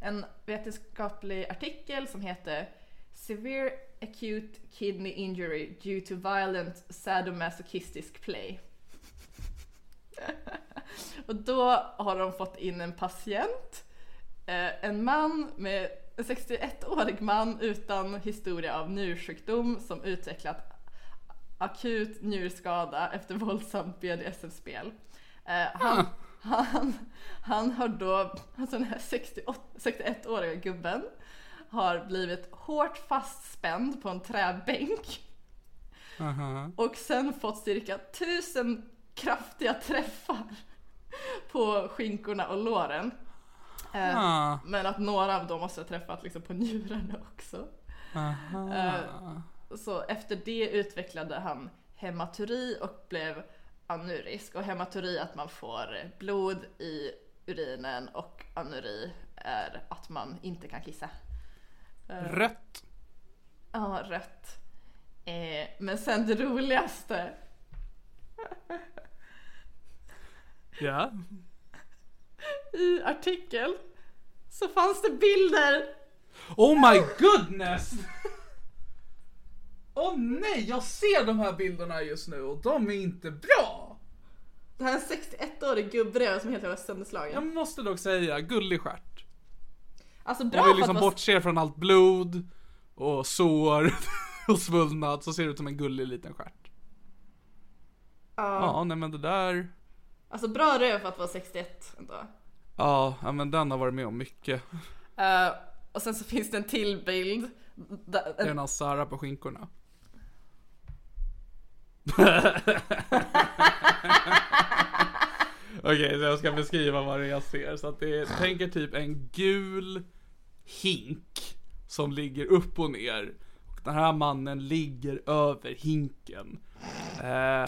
B: En vetenskaplig artikel som heter Severe Acute Kidney Injury Due to Violent Sadomasochistic Play. Och då har de fått in en patient, eh, en man med en 61-årig man utan historia av njursjukdom som utvecklat akut njurskada efter våldsamt BDSM-spel. Eh, han, han, han har då, alltså den här 68 61-åriga gubben, har blivit hårt fastspänd på en träbänk och sen fått cirka tusen kraftiga träffar på skinkorna och låren. Eh,
C: Ah,
B: Men att några av dem måste ha träffat liksom på njurarna också. Eh, Så efter det utvecklade han hematuri och blev anurisk. Och hematuri att man får blod i urinen och anuri är att man inte kan kissa.
C: rött.
B: Ja, rött. Eh, Men sen det roligaste
C: Ja.
B: i artikeln så fanns det bilder
C: Oh my goodness! Åh nej, jag ser de här bilderna just nu och de är inte bra!
B: Det här är en 61-årig gubbre som är helt jävla sönderslagen.
C: Jag måste dock säga, gullig stjärt.
B: Alltså
C: Om
B: bra
C: vi
B: för att
C: liksom
B: vara...
C: bortser från allt blod och sår och svullnad så ser det ut som en gullig liten stjärt. Ja, nej men det där.
B: Alltså bra röv för att vara 61 ändå.
C: Ja, ja, men den har varit med om mycket.
B: Eh, och sen så finns det en till bild. Där-
C: Det är den här Sara på skinkorna. Okej, så jag ska beskriva vad det är jag ser. Så att det är, tänk er typ en gul hink som ligger upp och ner. Och den här mannen ligger över hinken. Eh,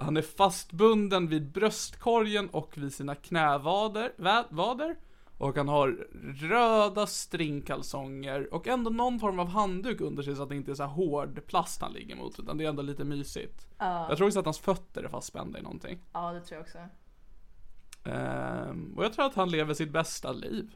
C: han är fastbunden vid bröstkorgen och vid sina knävader. vä- Vader, och han har röda stringkalsonger och ändå någon form av handduk under sig så att det inte är så här hård plast han ligger mot. Utan det är ändå lite mysigt. Jag tror också att hans fötter är fastspända i någonting.
B: Ja, det tror jag också.
C: Ehm, och jag tror att han lever sitt bästa liv.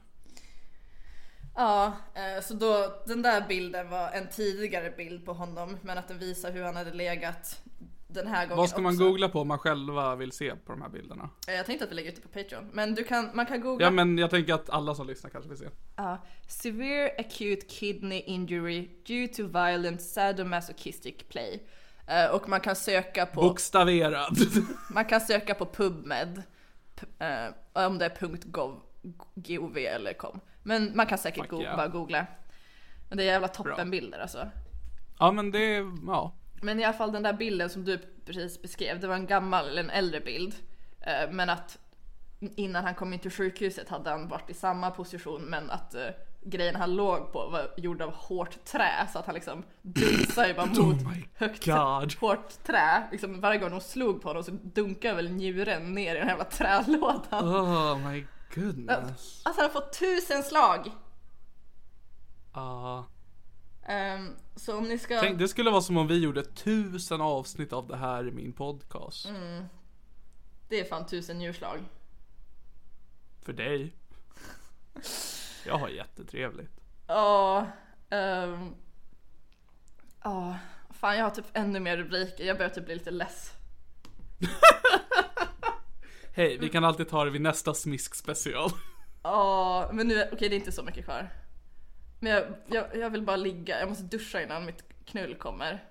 B: Ja, eh, så då den där bilden var en tidigare bild på honom men att den visar hur han hade legat den här gången
C: Vad ska man
B: också.
C: googla på om man själva vill se på de här bilderna?
B: Eh, Jag tänkte att vi lägger ut det på Patreon. Men du kan, man kan googla
C: Ja men jag tänker att alla som lyssnar kanske vill se.
B: Ja. Severe acute kidney injury due to violent sadomasochistic play. Eh, och man kan söka på,
C: Bokstaverad.
B: man kan söka på PubMed. P- eh, om det är .gov, .gov eller .com. Men man kan säkert
C: Fuck
B: go-
C: yeah.
B: bara googla. Men det är jävla toppenbilder alltså.
C: ja men det, är- ja.
B: Men i alla fall den där bilden som du precis beskrev, det var en gammal eller en äldre bild. Eh, Men att innan han kom in till sjukhuset hade han varit i samma position men att eh, grejen han låg på var gjord av hårt trä så att han liksom dunsade ju bara mot
C: Oh my
B: högt
C: God.
B: hårt trä. Liksom varje gång de slog på honom så dunkade väl njuren ner i den här jävla trälådan.
C: Oh my goodness.
B: Alltså han har fått tusen slag!
C: Ja.
B: Ehm, så om ni ska...
C: Tänk, det skulle vara som om vi gjorde tusen avsnitt av det här i min podcast.
B: Det är fan tusen djurslag.
C: För dig. Jag har jättetrevligt.
B: Ja. ehm, Ja. fan jag har typ ännu mer rubriker. Jag börjar typ bli lite less.
C: Hej, vi kan alltid ta det vid nästa smisk special.
B: Ja, men nu, okej det är inte så mycket kvar. Men jag, jag, jag vill bara ligga, jag måste duscha innan mitt knull kommer.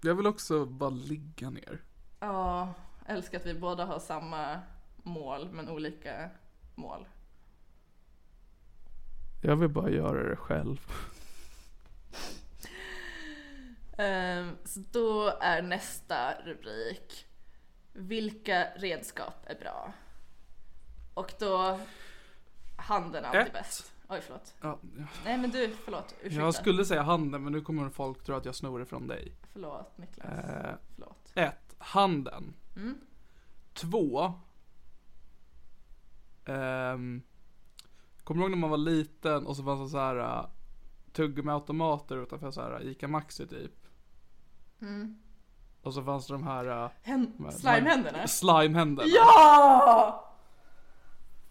C: Jag vill också bara ligga ner.
B: Ja, älskar att vi båda har samma mål men olika mål.
C: Jag vill bara göra det själv.
B: Ehm, så då är nästa rubrik Vilka redskap är bra? Och då handen är alltid
C: Ett.
B: bäst. Oj förlåt.
C: Ja,
B: Nej men du, förlåt. Ursäkta.
C: jag skulle säga handen men nu kommer folk tro att jag snor det från dig.
B: Förlåt Niklas.
C: Eh,
B: Förlåt.
C: ett, Handen. Två. Ehm, kommer du ihåg när man var liten och så fanns det så här eh, tuggummiautomater utanför så här Ica Maxi typ? Och så fanns det de här... eh,
B: Hän-
C: de här-
B: Slimehänderna?
C: Slimehänderna.
B: Ja!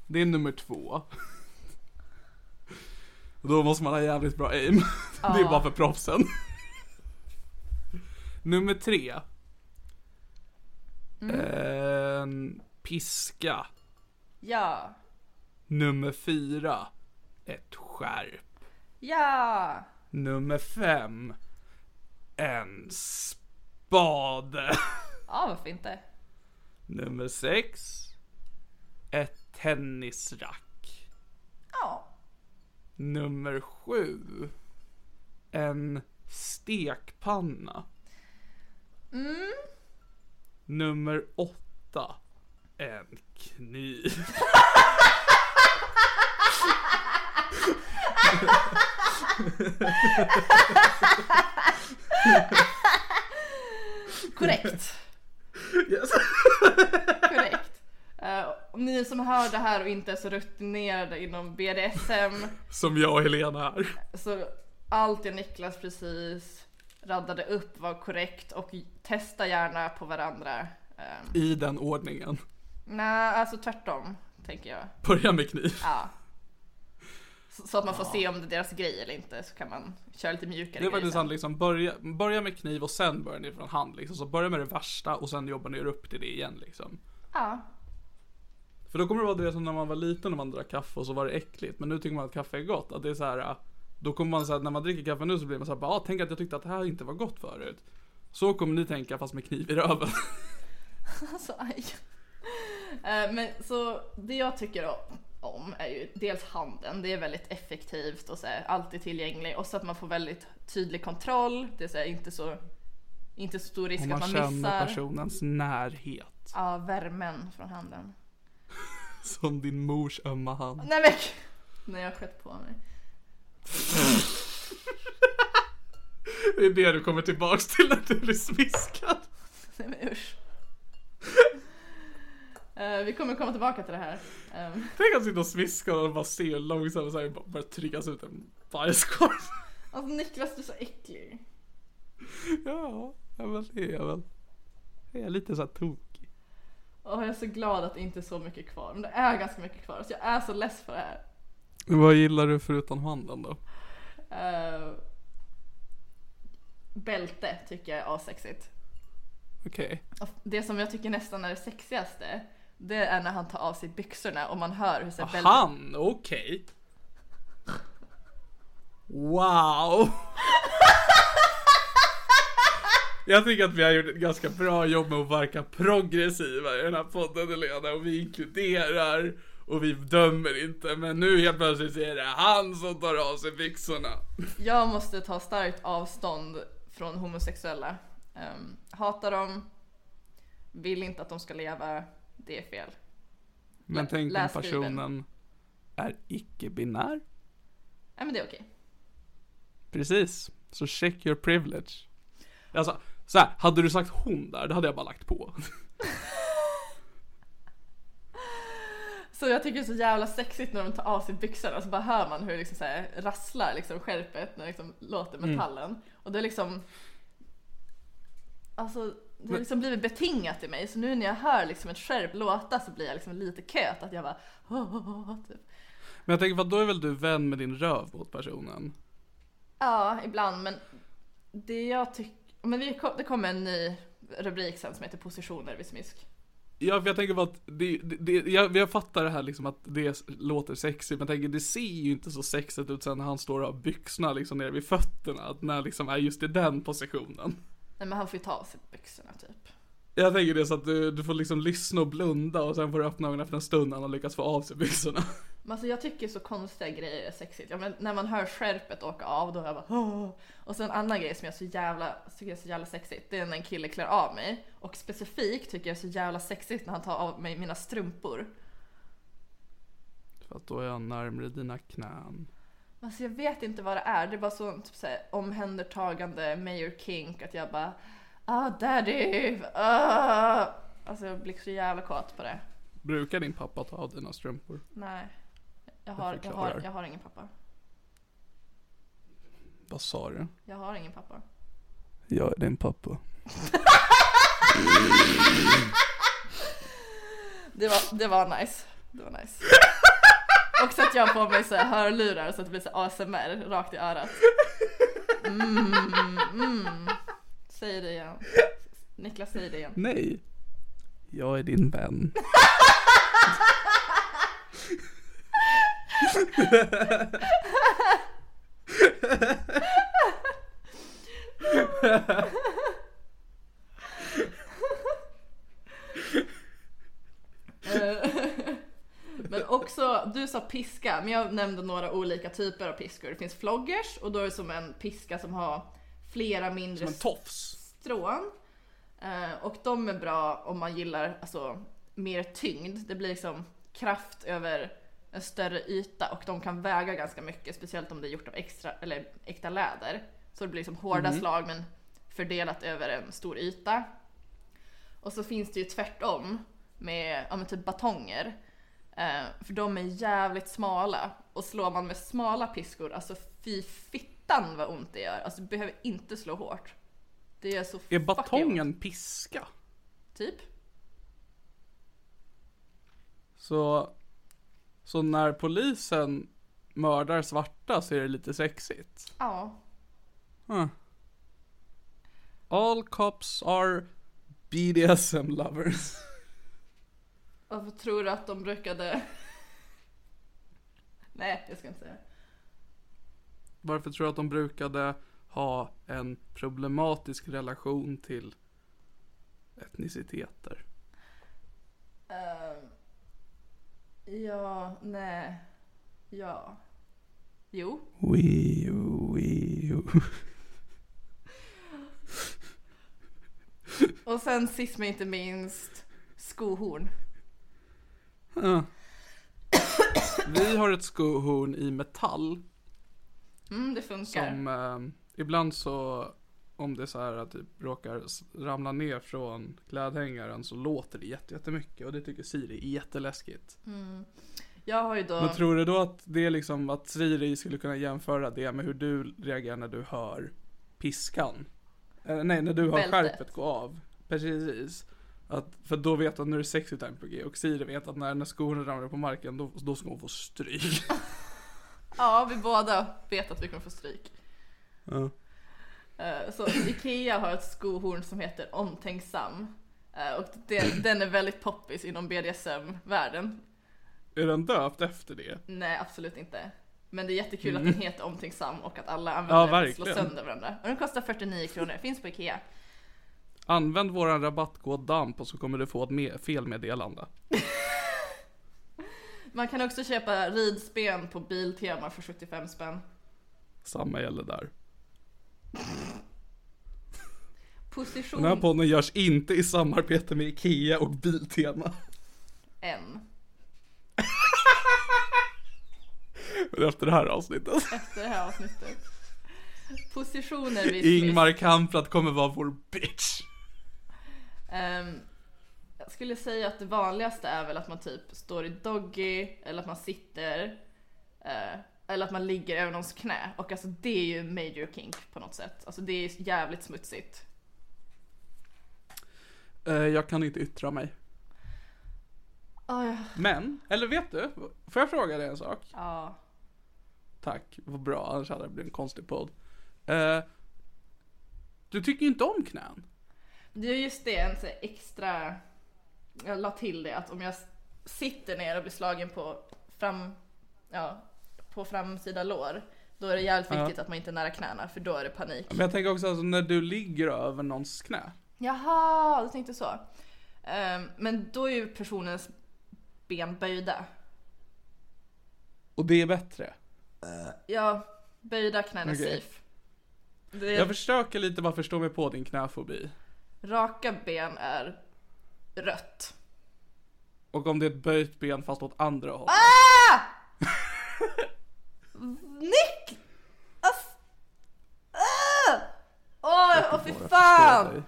C: Det är nummer två. Då måste man ha jävligt bra aim. Det är bara för proffsen. Nummer tre. En Ehm, piska.
B: Ja!
C: Nummer fyra. Ett skärp.
B: Ja!
C: Nummer fem. En spade.
B: Ja, varför inte?
C: Nummer sex. Ett tennisrack.
B: Ja.
C: Nummer sju. En stekpanna.
B: Mm.
C: Nummer åtta. En kniv.
B: Korrekt. Korrekt. Eh, om ni som hör det här och inte är så rutinerade inom BDSM
C: Som jag och Helena är.
B: så allt jag Niklas precis raddade upp var korrekt och testa gärna på varandra. Um,
C: I den ordningen.
B: Nej, alltså tvärtom tänker jag.
C: Börja med kniv.
B: Ja. Så, så att man får se om det är deras grej eller inte så kan man köra lite mjukare
C: Det var
B: grejer
C: det
B: sen.
C: sant, liksom börja, börja med kniv och sen börja ner från hand liksom. Så börja med det värsta och sen jobbar ni er upp till det igen liksom.
B: Ja.
C: För då kommer det vara det som när man var liten och man drack kaffe och så var det äckligt. Men nu tycker man att kaffe är gott. Att det är så här. äh, Då kommer man säga när man dricker kaffe nu så blir man så här bara, ah, tänk att jag tyckte att det här inte var gott förut. Så kommer ni tänka fast med kniv i röven.
B: Alltså aj. Eh, Men så det jag tycker om- om är ju dels handen, det är väldigt effektivt och så här, alltid tillgänglig och så att man får väldigt tydlig kontroll. Det är så här, inte så inte så stor risk
C: Och
B: att
C: man
B: man
C: känner
B: missar.
C: personens närhet.
B: Ja, värmen från handen.
C: Som din mors ömma hand.
B: Nej men när jag sköt på mig.
C: Det är det du kommer tillbaks till när du blir smiskad.
B: Nej men usch. Eh, Vi kommer komma tillbaka till det här. Eh,
C: Tänk att sitta och smiska och bara se hur långsamt så här bara börjar tryckas ut en bajskorv.
B: Alltså Niklas du är så äcklig.
C: Ja, ja men det är jag väl. Jag är lite så här tokig.
B: Och jag är så glad att det inte är så mycket kvar. Men det är ganska mycket kvar så jag är så less för det här.
C: Vad gillar du förutom handen då?
B: Eh, bälte tycker jag är asexigt.
C: Okej.
B: Och Det som jag tycker nästan är det sexigaste, det är när han tar av sig byxorna och man hör hur så här bältet...
C: Han, okej. Wow. Jag tycker att vi har gjort ett ganska bra jobb med att verka progressiva i den här podden Helena och vi inkluderar och vi dömer inte men nu helt plötsligt så är det han som tar av sig byxorna.
B: Jag måste ta starkt avstånd från homosexuella. Ehm, hatar dem, vill inte att de ska leva, det är fel.
C: Men tänk om
B: läs
C: personen är icke-binär.
B: Nej men det är okej.
C: Precis. Så check your privilege. Alltså, så här, hade du sagt hon där, då hade jag bara lagt på.
B: Så jag tycker det är så jävla sexigt när de tar av sig byxorna så bara hör man hur det liksom så här rasslar liksom skärpet när det liksom låter metallen. Och det är liksom... Alltså det har liksom blivit betingat i mig så nu när jag hör liksom ett skärp låta så blir jag liksom lite köt att jag bara... "Åh, åh, åh", typ.
C: Men jag tänker, vad då är väl du vän med din röv mot personen?
B: Ja, ibland. Men det jag tycker... Men vi kom, det kommer en ny rubrik sen som heter positioner vid smisk.
C: Ja, för jag tänker bara att det, det, det, jag, jag fattar det här liksom att det s- låter sexigt, men jag tänker det ser ju inte så sexigt ut sen när han står och har byxorna liksom nere vid fötterna, att när liksom är just i den positionen.
B: Nej men han får ju ta av sig byxorna typ.
C: Jag tänker det så att du, du får liksom lyssna och blunda och sen får du öppna ögonen efter en stund när han har lyckats få av sig byxorna.
B: Men alltså jag tycker så konstiga grejer är sexigt. Ja, men när man hör skärpet åka av då är jag bara Åh! Och sen en annan grej som jag så jävla, tycker är så jävla sexigt. Det är när en kille klär av mig. Och specifikt tycker jag är så jävla sexigt när han tar av mig mina strumpor.
C: För att då är jag närmare dina knän.
B: Men Alltså jag vet inte vad det är. Det är bara sån typ såhär, omhändertagande mayor kink att jag bara Ah daddy! Ah! Alltså jag blir så jävla kåt på det.
C: Brukar din pappa ta av dina strumpor?
B: Nej. Jag har, jag har,
C: förklarar.
B: jag har ingen pappa.
C: Vad sa du?
B: Jag har ingen pappa.
C: Jag är din pappa.
B: Det var, det var nice. Det var nice. Och så att jag har på mig så här hörlurar så att det blir så här ASMR rakt i örat. Mm, mm. Säg det igen. Niklas, säg det igen.
C: Nej. Jag är din vän.
B: Eh, Men också, du sa piska, men jag nämnde några olika typer av piskor. Det finns floggers och då är det som en piska som har flera mindre
C: Som en tofs.
B: strån. Eh, Och de är bra om man gillar alltså, mer tyngd. Det blir liksom kraft över en större yta och de kan väga ganska mycket. Speciellt om det är gjort av extra, eller äkta läder. Så det blir liksom hårda
C: Mm.
B: slag men fördelat över en stor yta. Och så finns det ju tvärtom med ja, men typ batonger. Eh, för de är jävligt smala. Och slår man med smala piskor, alltså fy fittan vad ont det gör. Alltså du behöver inte slå hårt. Det gör så
C: Är
B: fucking ont.
C: batongen piska?
B: Typ.
C: Så, så när polisen mördar svarta så är det lite sexigt.
B: Ja.
C: Huh. All cops are BDSM lovers.
B: Varför tror du att de brukade... Nej, jag ska inte säga.
C: Varför tror du att de brukade ha en problematisk relation till etniciteter?
B: Ehm, ja, nej, ja. Jo.
C: Wee-oo, wee-oo.
B: Och sen sist men inte minst, skohorn.
C: Huh. Vi har ett skohorn i metall
B: Mm, det funkar.
C: Som eh, ibland så, om det så här att typ råkar s- ramla ner från klädhängaren så låter det jätte- jättemycket och det tycker Siri är jätteläskigt.
B: Jag har ju då...
C: Men tror du då att det är liksom att Siri skulle kunna jämföra det med hur du reagerar när du hör piskan? Eh, nej, när du hör
B: Bältet.
C: skärpet gå av. Precis. Att, för då vet att nu är det sexy time på G och Siri vet att när, när skorna ramlar på marken då, då ska hon få stryk.
B: Ja, vi båda vet att vi kommer få stryk.
C: Ja.
B: Eh, Så Ikea har ett skohorn som heter Omtänksam. Eh, Och det, den är väldigt poppis inom BDSM-världen.
C: är den döpt efter det?
B: Nej, absolut inte. Men det är jättekul att den heter Omtänksam och att alla använder
C: Mm.
B: den
C: Ja,
B: för att slå
C: verkligen.
B: sönder varandra. Och den kostar 49 kronor, finns på Ikea.
C: Använd våran rabattkod DAMP och så kommer du få ett me- felmeddelande.
B: Man kan också köpa ridspen på Biltema för 75 spänn.
C: Samma gäller där.
B: Position
C: Den
B: Mm.
C: här podden görs inte i samarbete med IKEA och Biltema.
B: N.
C: Men Efter det här avsnittet.
B: Efter det här avsnittet. Positioner vid smisk.
C: Ingmar Kamprad kommer vara vår bitch.
B: Ehm, skulle säga att det vanligaste är väl att man typ står i doggy eller att man sitter eh, eller att man ligger över någons knä och alltså det är ju major kink på något sätt. Alltså det är jävligt smutsigt.
C: Eh, jag kan inte yttra mig.
B: Ah, ja.
C: Men, eller vet du? Får jag fråga dig en sak?
B: ja.
C: Tack, vad bra. Annars hade det blivit en konstig podd. Eh, du tycker ju inte om knän.
B: Det är just det, en så här extra... Jag la till det att om jag sitter ner och blir slagen på, fram, ja, på framsida lår, då är det jävligt viktigt att man inte är nära knäna för då är det panik.
C: Men jag tänker också alltså, när du ligger över någons knä.
B: Jaha, du tänkte så. Ehm, men då är ju personens ben böjda.
C: Och det är bättre.
B: Ja, böjda knän är
C: Okej.
B: safe. Det
C: Jag försöker lite bara förstå mig på din knäfobi.
B: Raka ben är rött.
C: Och om det är ett böjt ben fast åt andra hållet.
B: Ah! Nick! Ass... Ah! Åh, åh, fy fan!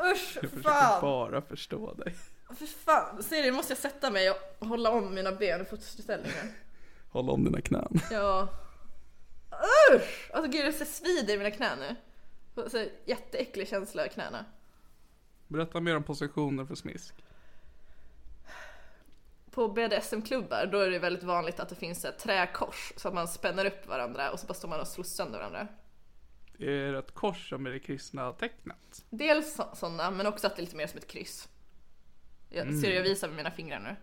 B: Usch,
C: Jag
B: fy
C: försöker
B: fan!
C: bara förstå dig.
B: Fy fan! Ser du, nu måste jag sätta mig och hålla om mina ben i fotoställningen.
C: Håll om dina knän.
B: Ja. Usch! Alltså gud, det så svider i mina knän nu. Så här jätteäcklig känsla i knäna.
C: Berätta mer om positioner för smisk.
B: På BDSM-klubbar då är det väldigt vanligt att det finns ett träkors så att man spänner upp varandra och så bara står man och slår sönder varandra.
C: Det är ett kors som är det kristna tecknet.
B: Dels sådana, men också att det är lite mer som ett kryss. Jag,
C: Mm.
B: Ser du, jag visar med mina fingrar nu.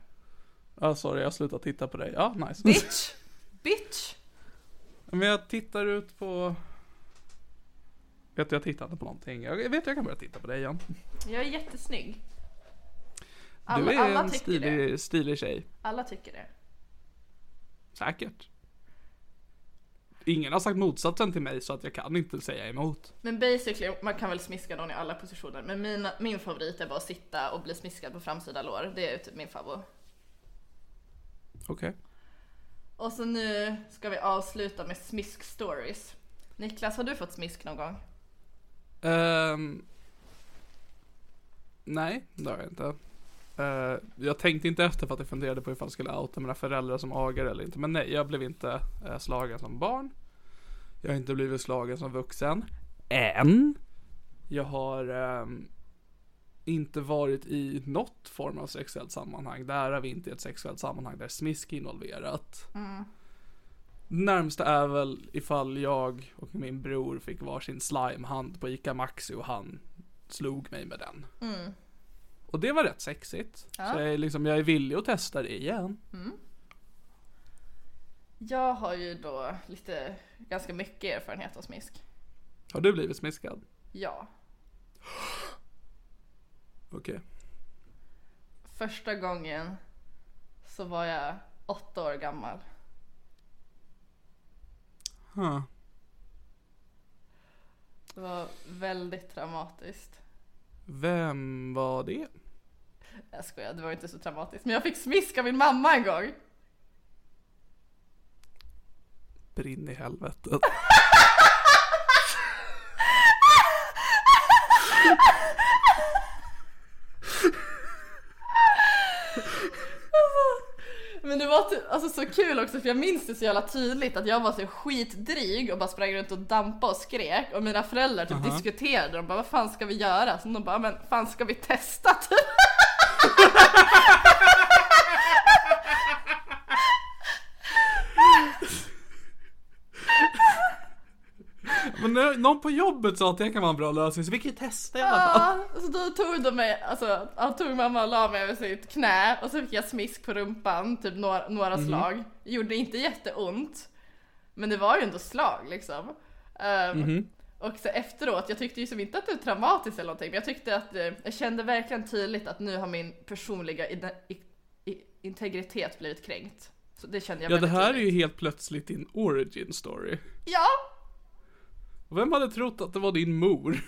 C: Ah, sorry, jag slutar titta på dig. Ja, nice.
B: Bitch! Bitch!
C: Men jag tittar ut på... Vet du, jag tittar inte på någonting. Jag vet, jag kan börja titta på dig igen.
B: Jag är jättesnygg.
C: du
B: Alla,
C: är
B: alla
C: en
B: tycker det.
C: stilig, stilig tjej.
B: Alla tycker det.
C: Säkert. Ingen har sagt motsatsen till mig så att jag kan inte säga emot.
B: Men basically, man kan väl smiska någon i alla positioner. Men mina, min favorit är bara att sitta och bli smiskad på framsida lår. Det är typ min favorit.
C: Okej.
B: Och så nu ska vi avsluta med smisk stories. Niklas, har du fått smisk någon gång?
C: Ehm, nej, det har jag inte. Eh, jag tänkte inte efter för att jag funderade på ifall jag skulle outa mina föräldrar som agare eller inte. Men nej, jag blev inte eh, slagen som barn. Jag har inte blivit slagen som vuxen. Än. Jag har ehm, inte varit i något form av sexuellt sammanhang. Där är vi inte i ett sexuellt sammanhang där smisk är involverat. Närmsta är väl ifall jag och min bror fick varsin slimehand på ICA Maxi och han slog mig med den. Och det var rätt sexigt. Så jag är, liksom, jag är villig att testa det igen.
B: Jag har ju då lite, ganska mycket erfarenhet av smisk.
C: Har du blivit smiskad?
B: Ja.
C: Okej.
B: Första gången så var jag åtta år gammal.
C: Huh.
B: Det var väldigt traumatiskt.
C: Vem var det?
B: Jag skojar, det var inte så traumatiskt. Men jag fick smisk av min mamma en gång.
C: Brinn i helvetet.
B: Men det var typ, alltså, så kul också för jag minns det så jävla tydligt att jag var så skitdryg och bara sprang runt och dampade och skrek och mina föräldrar typ diskuterade och bara vad fan ska vi göra? Så de bara men fan ska vi testa typ?
C: Men nu, någon på jobbet sa att det kan vara en bra lösning så vi kan ju testa i alla fall.
B: Ja, så då tog de mig, alltså ja, tog mamma och la mig över sitt knä och så fick jag smisk på rumpan, typ några, några
C: Mm.
B: slag. Gjorde inte jätteont, men det var ju ändå slag liksom. Ehm,
C: Mm-hmm.
B: Och så efteråt, jag tyckte ju som inte att det var traumatiskt eller någonting, men jag tyckte att eh, jag kände verkligen tydligt att nu har min personliga ide- i, i, integritet blivit kränkt. Så det kände jag
C: Ja, det
B: väldigt
C: här är
B: tydligt.
C: ju helt plötsligt din origin story.
B: Ja!
C: Och Vem hade trott att det var din mor?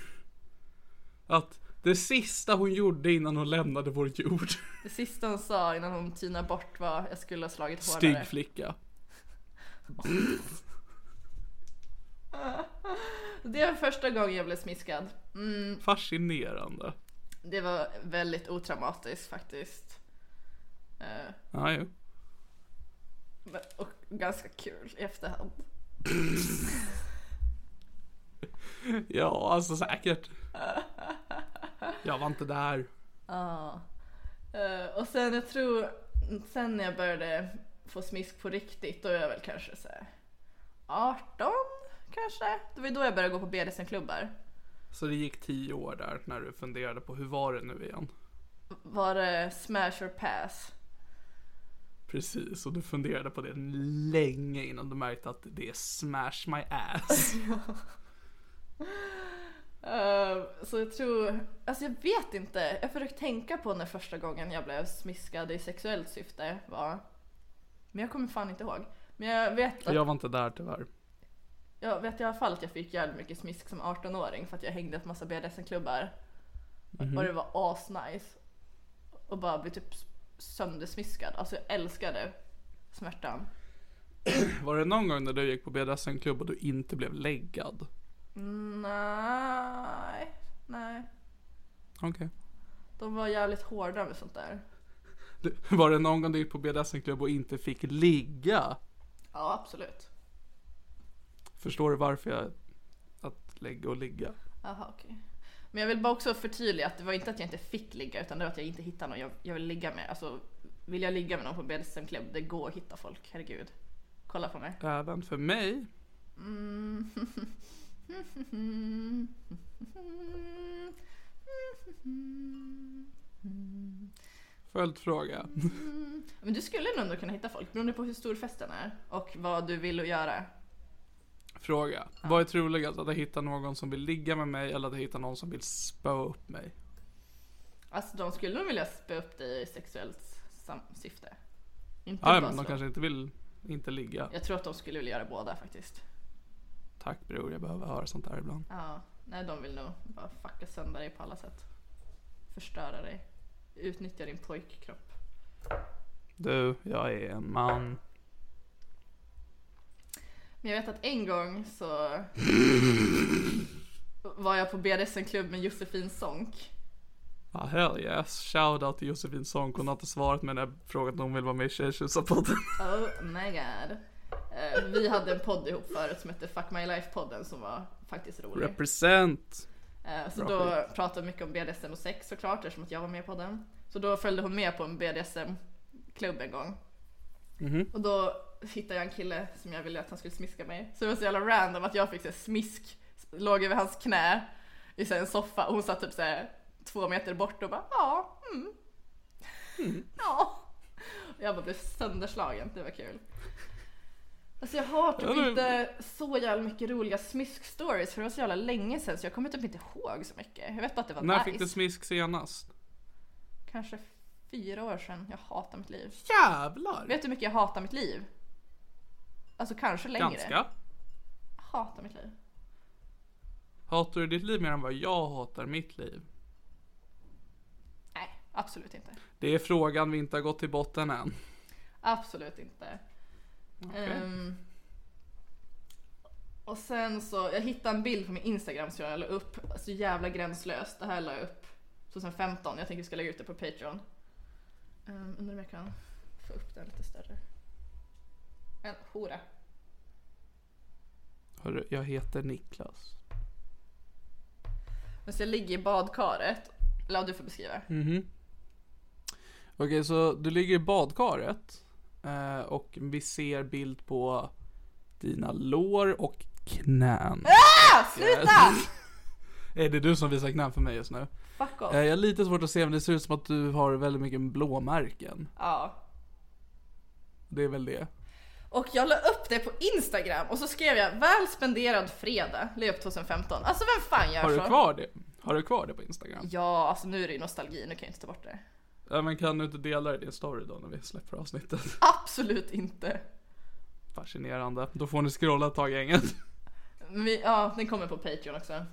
C: Att det sista hon gjorde innan hon lämnade vår jord.
B: Det sista hon sa innan hon tynade bort var jag skulle ha slagit hårdare.
C: Stygg flicka.
B: Det var första gången jag blev smiskad.
C: Fascinerande.
B: Det var väldigt otraumatiskt faktiskt. Eh,
C: Ja, jo.
B: men- Och ganska kul i efterhand.
C: Ja, alltså säkert. Jag var inte där.
B: Eh, och sen jag tror, sen när jag började få smisk på riktigt, då är jag väl kanske så här 18 kanske? Det var ju då jag började gå på BDSM-klubbar.
C: Så det gick tio år där när du funderade på hur var det nu igen?
B: Var det smash or pass?
C: Precis, och du funderade på det länge innan du märkte att det är smash my ass.
B: Eh, så jag tror, alltså jag vet inte. Jag försökte tänka på när första gången jag blev smiskad i sexuellt syfte var. Men jag kommer fan inte ihåg. Men jag vet att
C: Jag var inte där tyvärr.
B: Jag vet i alla fall att jag fick jävligt mycket smisk som 18-åring för att jag hängde på massa BDSM-klubbar. Och det var asnice. Och bara blev typ söndersmiskad. Alltså jag älskade smärtan.
C: Var det någon gång när du gick på BDSM-klubb och du inte blev läggad?
B: Nej, nej.
C: Okej.
B: De var jävligt hårda med sånt där.
C: Du- Var det någon gång du gick på BDSM-klubb och inte fick ligga?
B: Ja, absolut.
C: Förstår du varför jag... Att lägga och ligga?
B: Jaha, okej. Men jag vill bara också förtydliga att det var inte att jag inte fick ligga utan det var att jag inte hittade någon jag, jag vill ligga med. Alltså, vill jag ligga med någon på BDSM-klubb, det går att hitta folk. Herregud. Kolla på mig.
C: Även för mig?
B: Mm.
C: Följdfråga.
B: Men du skulle nog ändå kunna hitta folk beroende på hur stor festen är och vad du vill att göra.
C: Fråga. Vad är troligast? Att jag hittar någon som vill ligga med mig eller att jag hittar någon som vill spöa upp mig?
B: Alltså de skulle nog vilja spö upp dig i sexuellt sam- syfte. Inte
C: Ja,
B: bara
C: men de
B: slå.
C: kanske inte vill inte ligga.
B: Jag tror att de skulle vilja göra båda faktiskt.
C: Tack bror, jag behöver höra sånt här ibland.
B: Ja, nej de vill nog bara fucka sönder dig på alla sätt. Förstöra dig. Utnyttja din pojkkropp.
C: Du, jag är en man.
B: Men jag vet att en gång så var jag på BDSM-klubb med Josefin Sonck.
C: Ah, hell yes. Shoutout till Josefin Sonck. Hon har inte svarat mig när jag frågat om hon vill vara med i Tjejtjusarpodden.
B: Oh my god. Eh, Vi hade en podd ihop förut som hette Fuck My Life-podden som var faktiskt rolig.
C: Represent!
B: Eh, Så
C: Bra
B: då
C: skit.
B: pratade vi mycket om BDSM och sex såklart eftersom att jag var med på den. Så då följde hon med på en BDSM-klubb en gång.
C: Mhm.
B: Och då hittade jag en kille som jag ville att han skulle smiska mig. Så det var så jävla random att jag fick så här, smisk, låg över hans knä i så här, en soffa och hon satt typ så här, två meter bort och bara ja, mm.
C: Mm.
B: Ja. Och jag bara blev sönderslagen, det var kul. Alltså jag har typ
C: Ja, det-
B: inte så jävla mycket roliga smisk-stories för det var så jävla länge sedan så jag kommer typ inte ihåg så mycket. Jag vet bara att det var
C: När
B: nice.
C: fick du smisk senast?
B: Kanske fyra år sedan. Jag hatar mitt liv.
C: Jävlar!
B: Vet du hur mycket jag hatar mitt liv? Alltså kanske längre.
C: Ganska.
B: Jag hatar mitt liv.
C: Hatar du ditt liv mer än vad jag hatar mitt liv?
B: Nej, absolut inte.
C: Det är frågan vi inte har gått till botten än.
B: Absolut inte. Ehm, och sen så, jag hittade en bild på min Instagram som jag la upp. Så alltså, jävla gränslöst. Det här la jag upp 2015. Jag tänker vi ska lägga ut det på Patreon. Um, undrar om jag kan få upp den lite större. En hora.
C: Hörru, jag heter Niklas.
B: Men så jag ligger i badkaret. Eller ja, du får beskriva.
C: Okej, så du ligger i badkaret eh, och vi ser bild på dina lår och knän.
B: Ah, sluta!
C: Är det du som visar knän för mig just nu?
B: Fuck off.
C: Eh, jag har lite svårt att se, men det ser ut som att du har väldigt mycket blåmärken.
B: Ja.
C: Det är väl det.
B: Och jag la upp det på Instagram och så skrev jag väl spenderad fredag, la jag upp 2015. Alltså vem fan gör
C: Har du
B: så?
C: kvar det? Har du kvar det på Instagram?
B: Ja, alltså nu är det ju nostalgi, nu kan jag inte ta bort det.
C: Ja, men kan du inte dela det i din story då när vi släpper avsnittet?
B: Absolut inte.
C: Fascinerande. Då får ni scrolla ett tag gänget.
B: Men vi, ja, den kommer på Patreon också.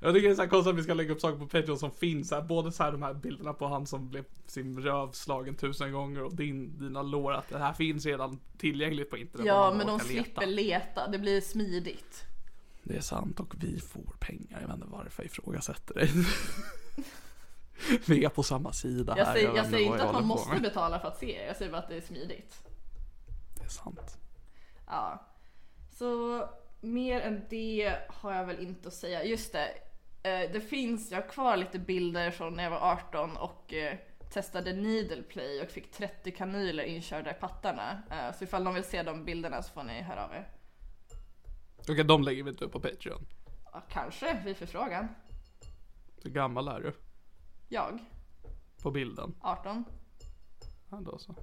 C: Jag tycker det är så här konstigt att vi ska lägga upp saker på Patreon som finns här. Både så här de här bilderna på han som blev sin röv slagen tusen gånger och din, dina lår. Att det här finns redan tillgängligt på internet. om
B: Ja,
C: man
B: men de
C: orkar leta.
B: slipper leta, det blir smidigt.
C: Det är sant och vi får pengar. Jag vet inte varför jag ifrågasätter dig. Vi är på samma sida
B: Jag
C: här.
B: säger,
C: vet
B: jag säger
C: vad
B: inte att man
C: håller på
B: måste
C: med.
B: betala för att se er, jag säger bara att det är smidigt.
C: Det är sant.
B: Ja. Så mer än det har jag väl inte att säga. Just det, eh, det finns, jag har kvar lite bilder från när jag var 18 och eh, testade needle play och fick 30 kanyler inkörda i pattarna. Eh, Så ifall de vill se de bilderna så får ni höra av er.
C: Okej, de lägger vi inte upp på Patreon.
B: Ja, kanske, vid förfrågan.
C: Hur gammal är du?
B: Jag,
C: På bilden?
B: 18.
C: Ja, då så.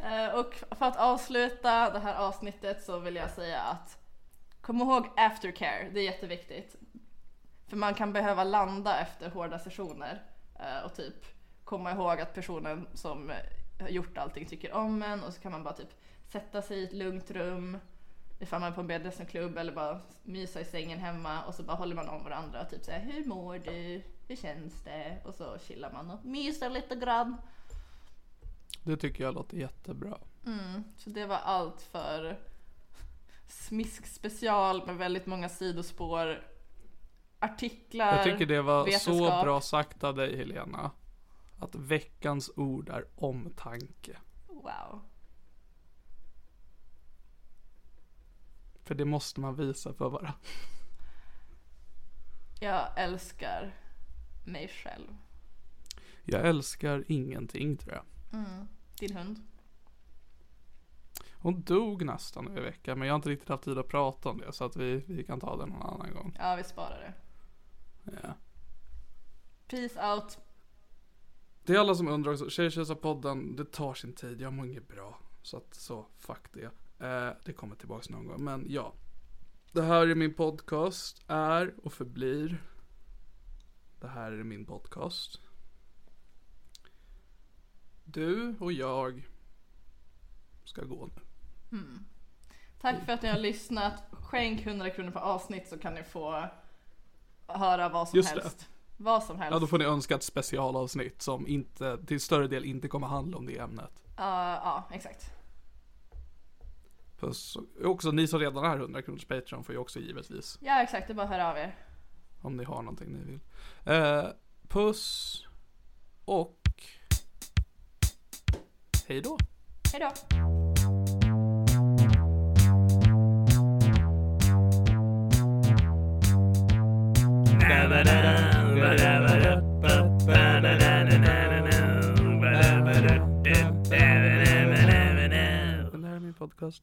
B: Eh, Och för att avsluta det här avsnittet så vill jag säga att kom ihåg aftercare, det är jätteviktigt. För man kan behöva landa efter hårda sessioner eh, och typ komma ihåg att personen som har gjort allting tycker om en och så kan man bara typ sätta sig i ett lugnt rum ifall man är på en BDSM-klubb eller bara mysa i sängen hemma och så bara håller man om varandra och typ säger hur mår du, hur känns det och så chillar man och myser lite grann.
C: Det tycker jag låter jättebra.
B: Så det var allt för smisk special med väldigt många sidospår, artiklar,
C: Jag tycker det var så
B: vetenskap.
C: bra sagt av dig Helena. Att veckans ord är omtanke.
B: Wow.
C: För det måste man visa för varandra.
B: Jag älskar mig själv.
C: Jag älskar ingenting tror jag.
B: Din hund.
C: Hon dog nästan nu i veckan men jag har inte riktigt haft tid att prata om det så att vi, vi kan ta det någon annan gång.
B: Ja, vi sparar det.
C: Ja.
B: Peace out.
C: Det är alla som undrar också, Tjejtjejsarpodden, det tar sin tid, jag mår inget bra. Så att så, fuck det. Eh, det kommer tillbaks någon gång, men ja. Det här är min podcast, är och förblir. Det här är min podcast. Du och jag ska gå nu.
B: Tack för att ni har lyssnat. Skänk 100 kronor per avsnitt så kan ni få höra vad som
C: Just det.
B: helst. Vad som helst.
C: Ja, då får ni önska ett specialavsnitt som inte, till större del inte kommer handla om det ämnet.
B: Ja, ja, exakt.
C: Puss. Och Också ni som redan är 100 kronors Patreon får ju också givetvis
B: Ja, exakt. Det är bara att höra av er.
C: Om ni har någonting ni vill. Eh, puss och hej då.
B: Hej då.
C: Det här är min podcast.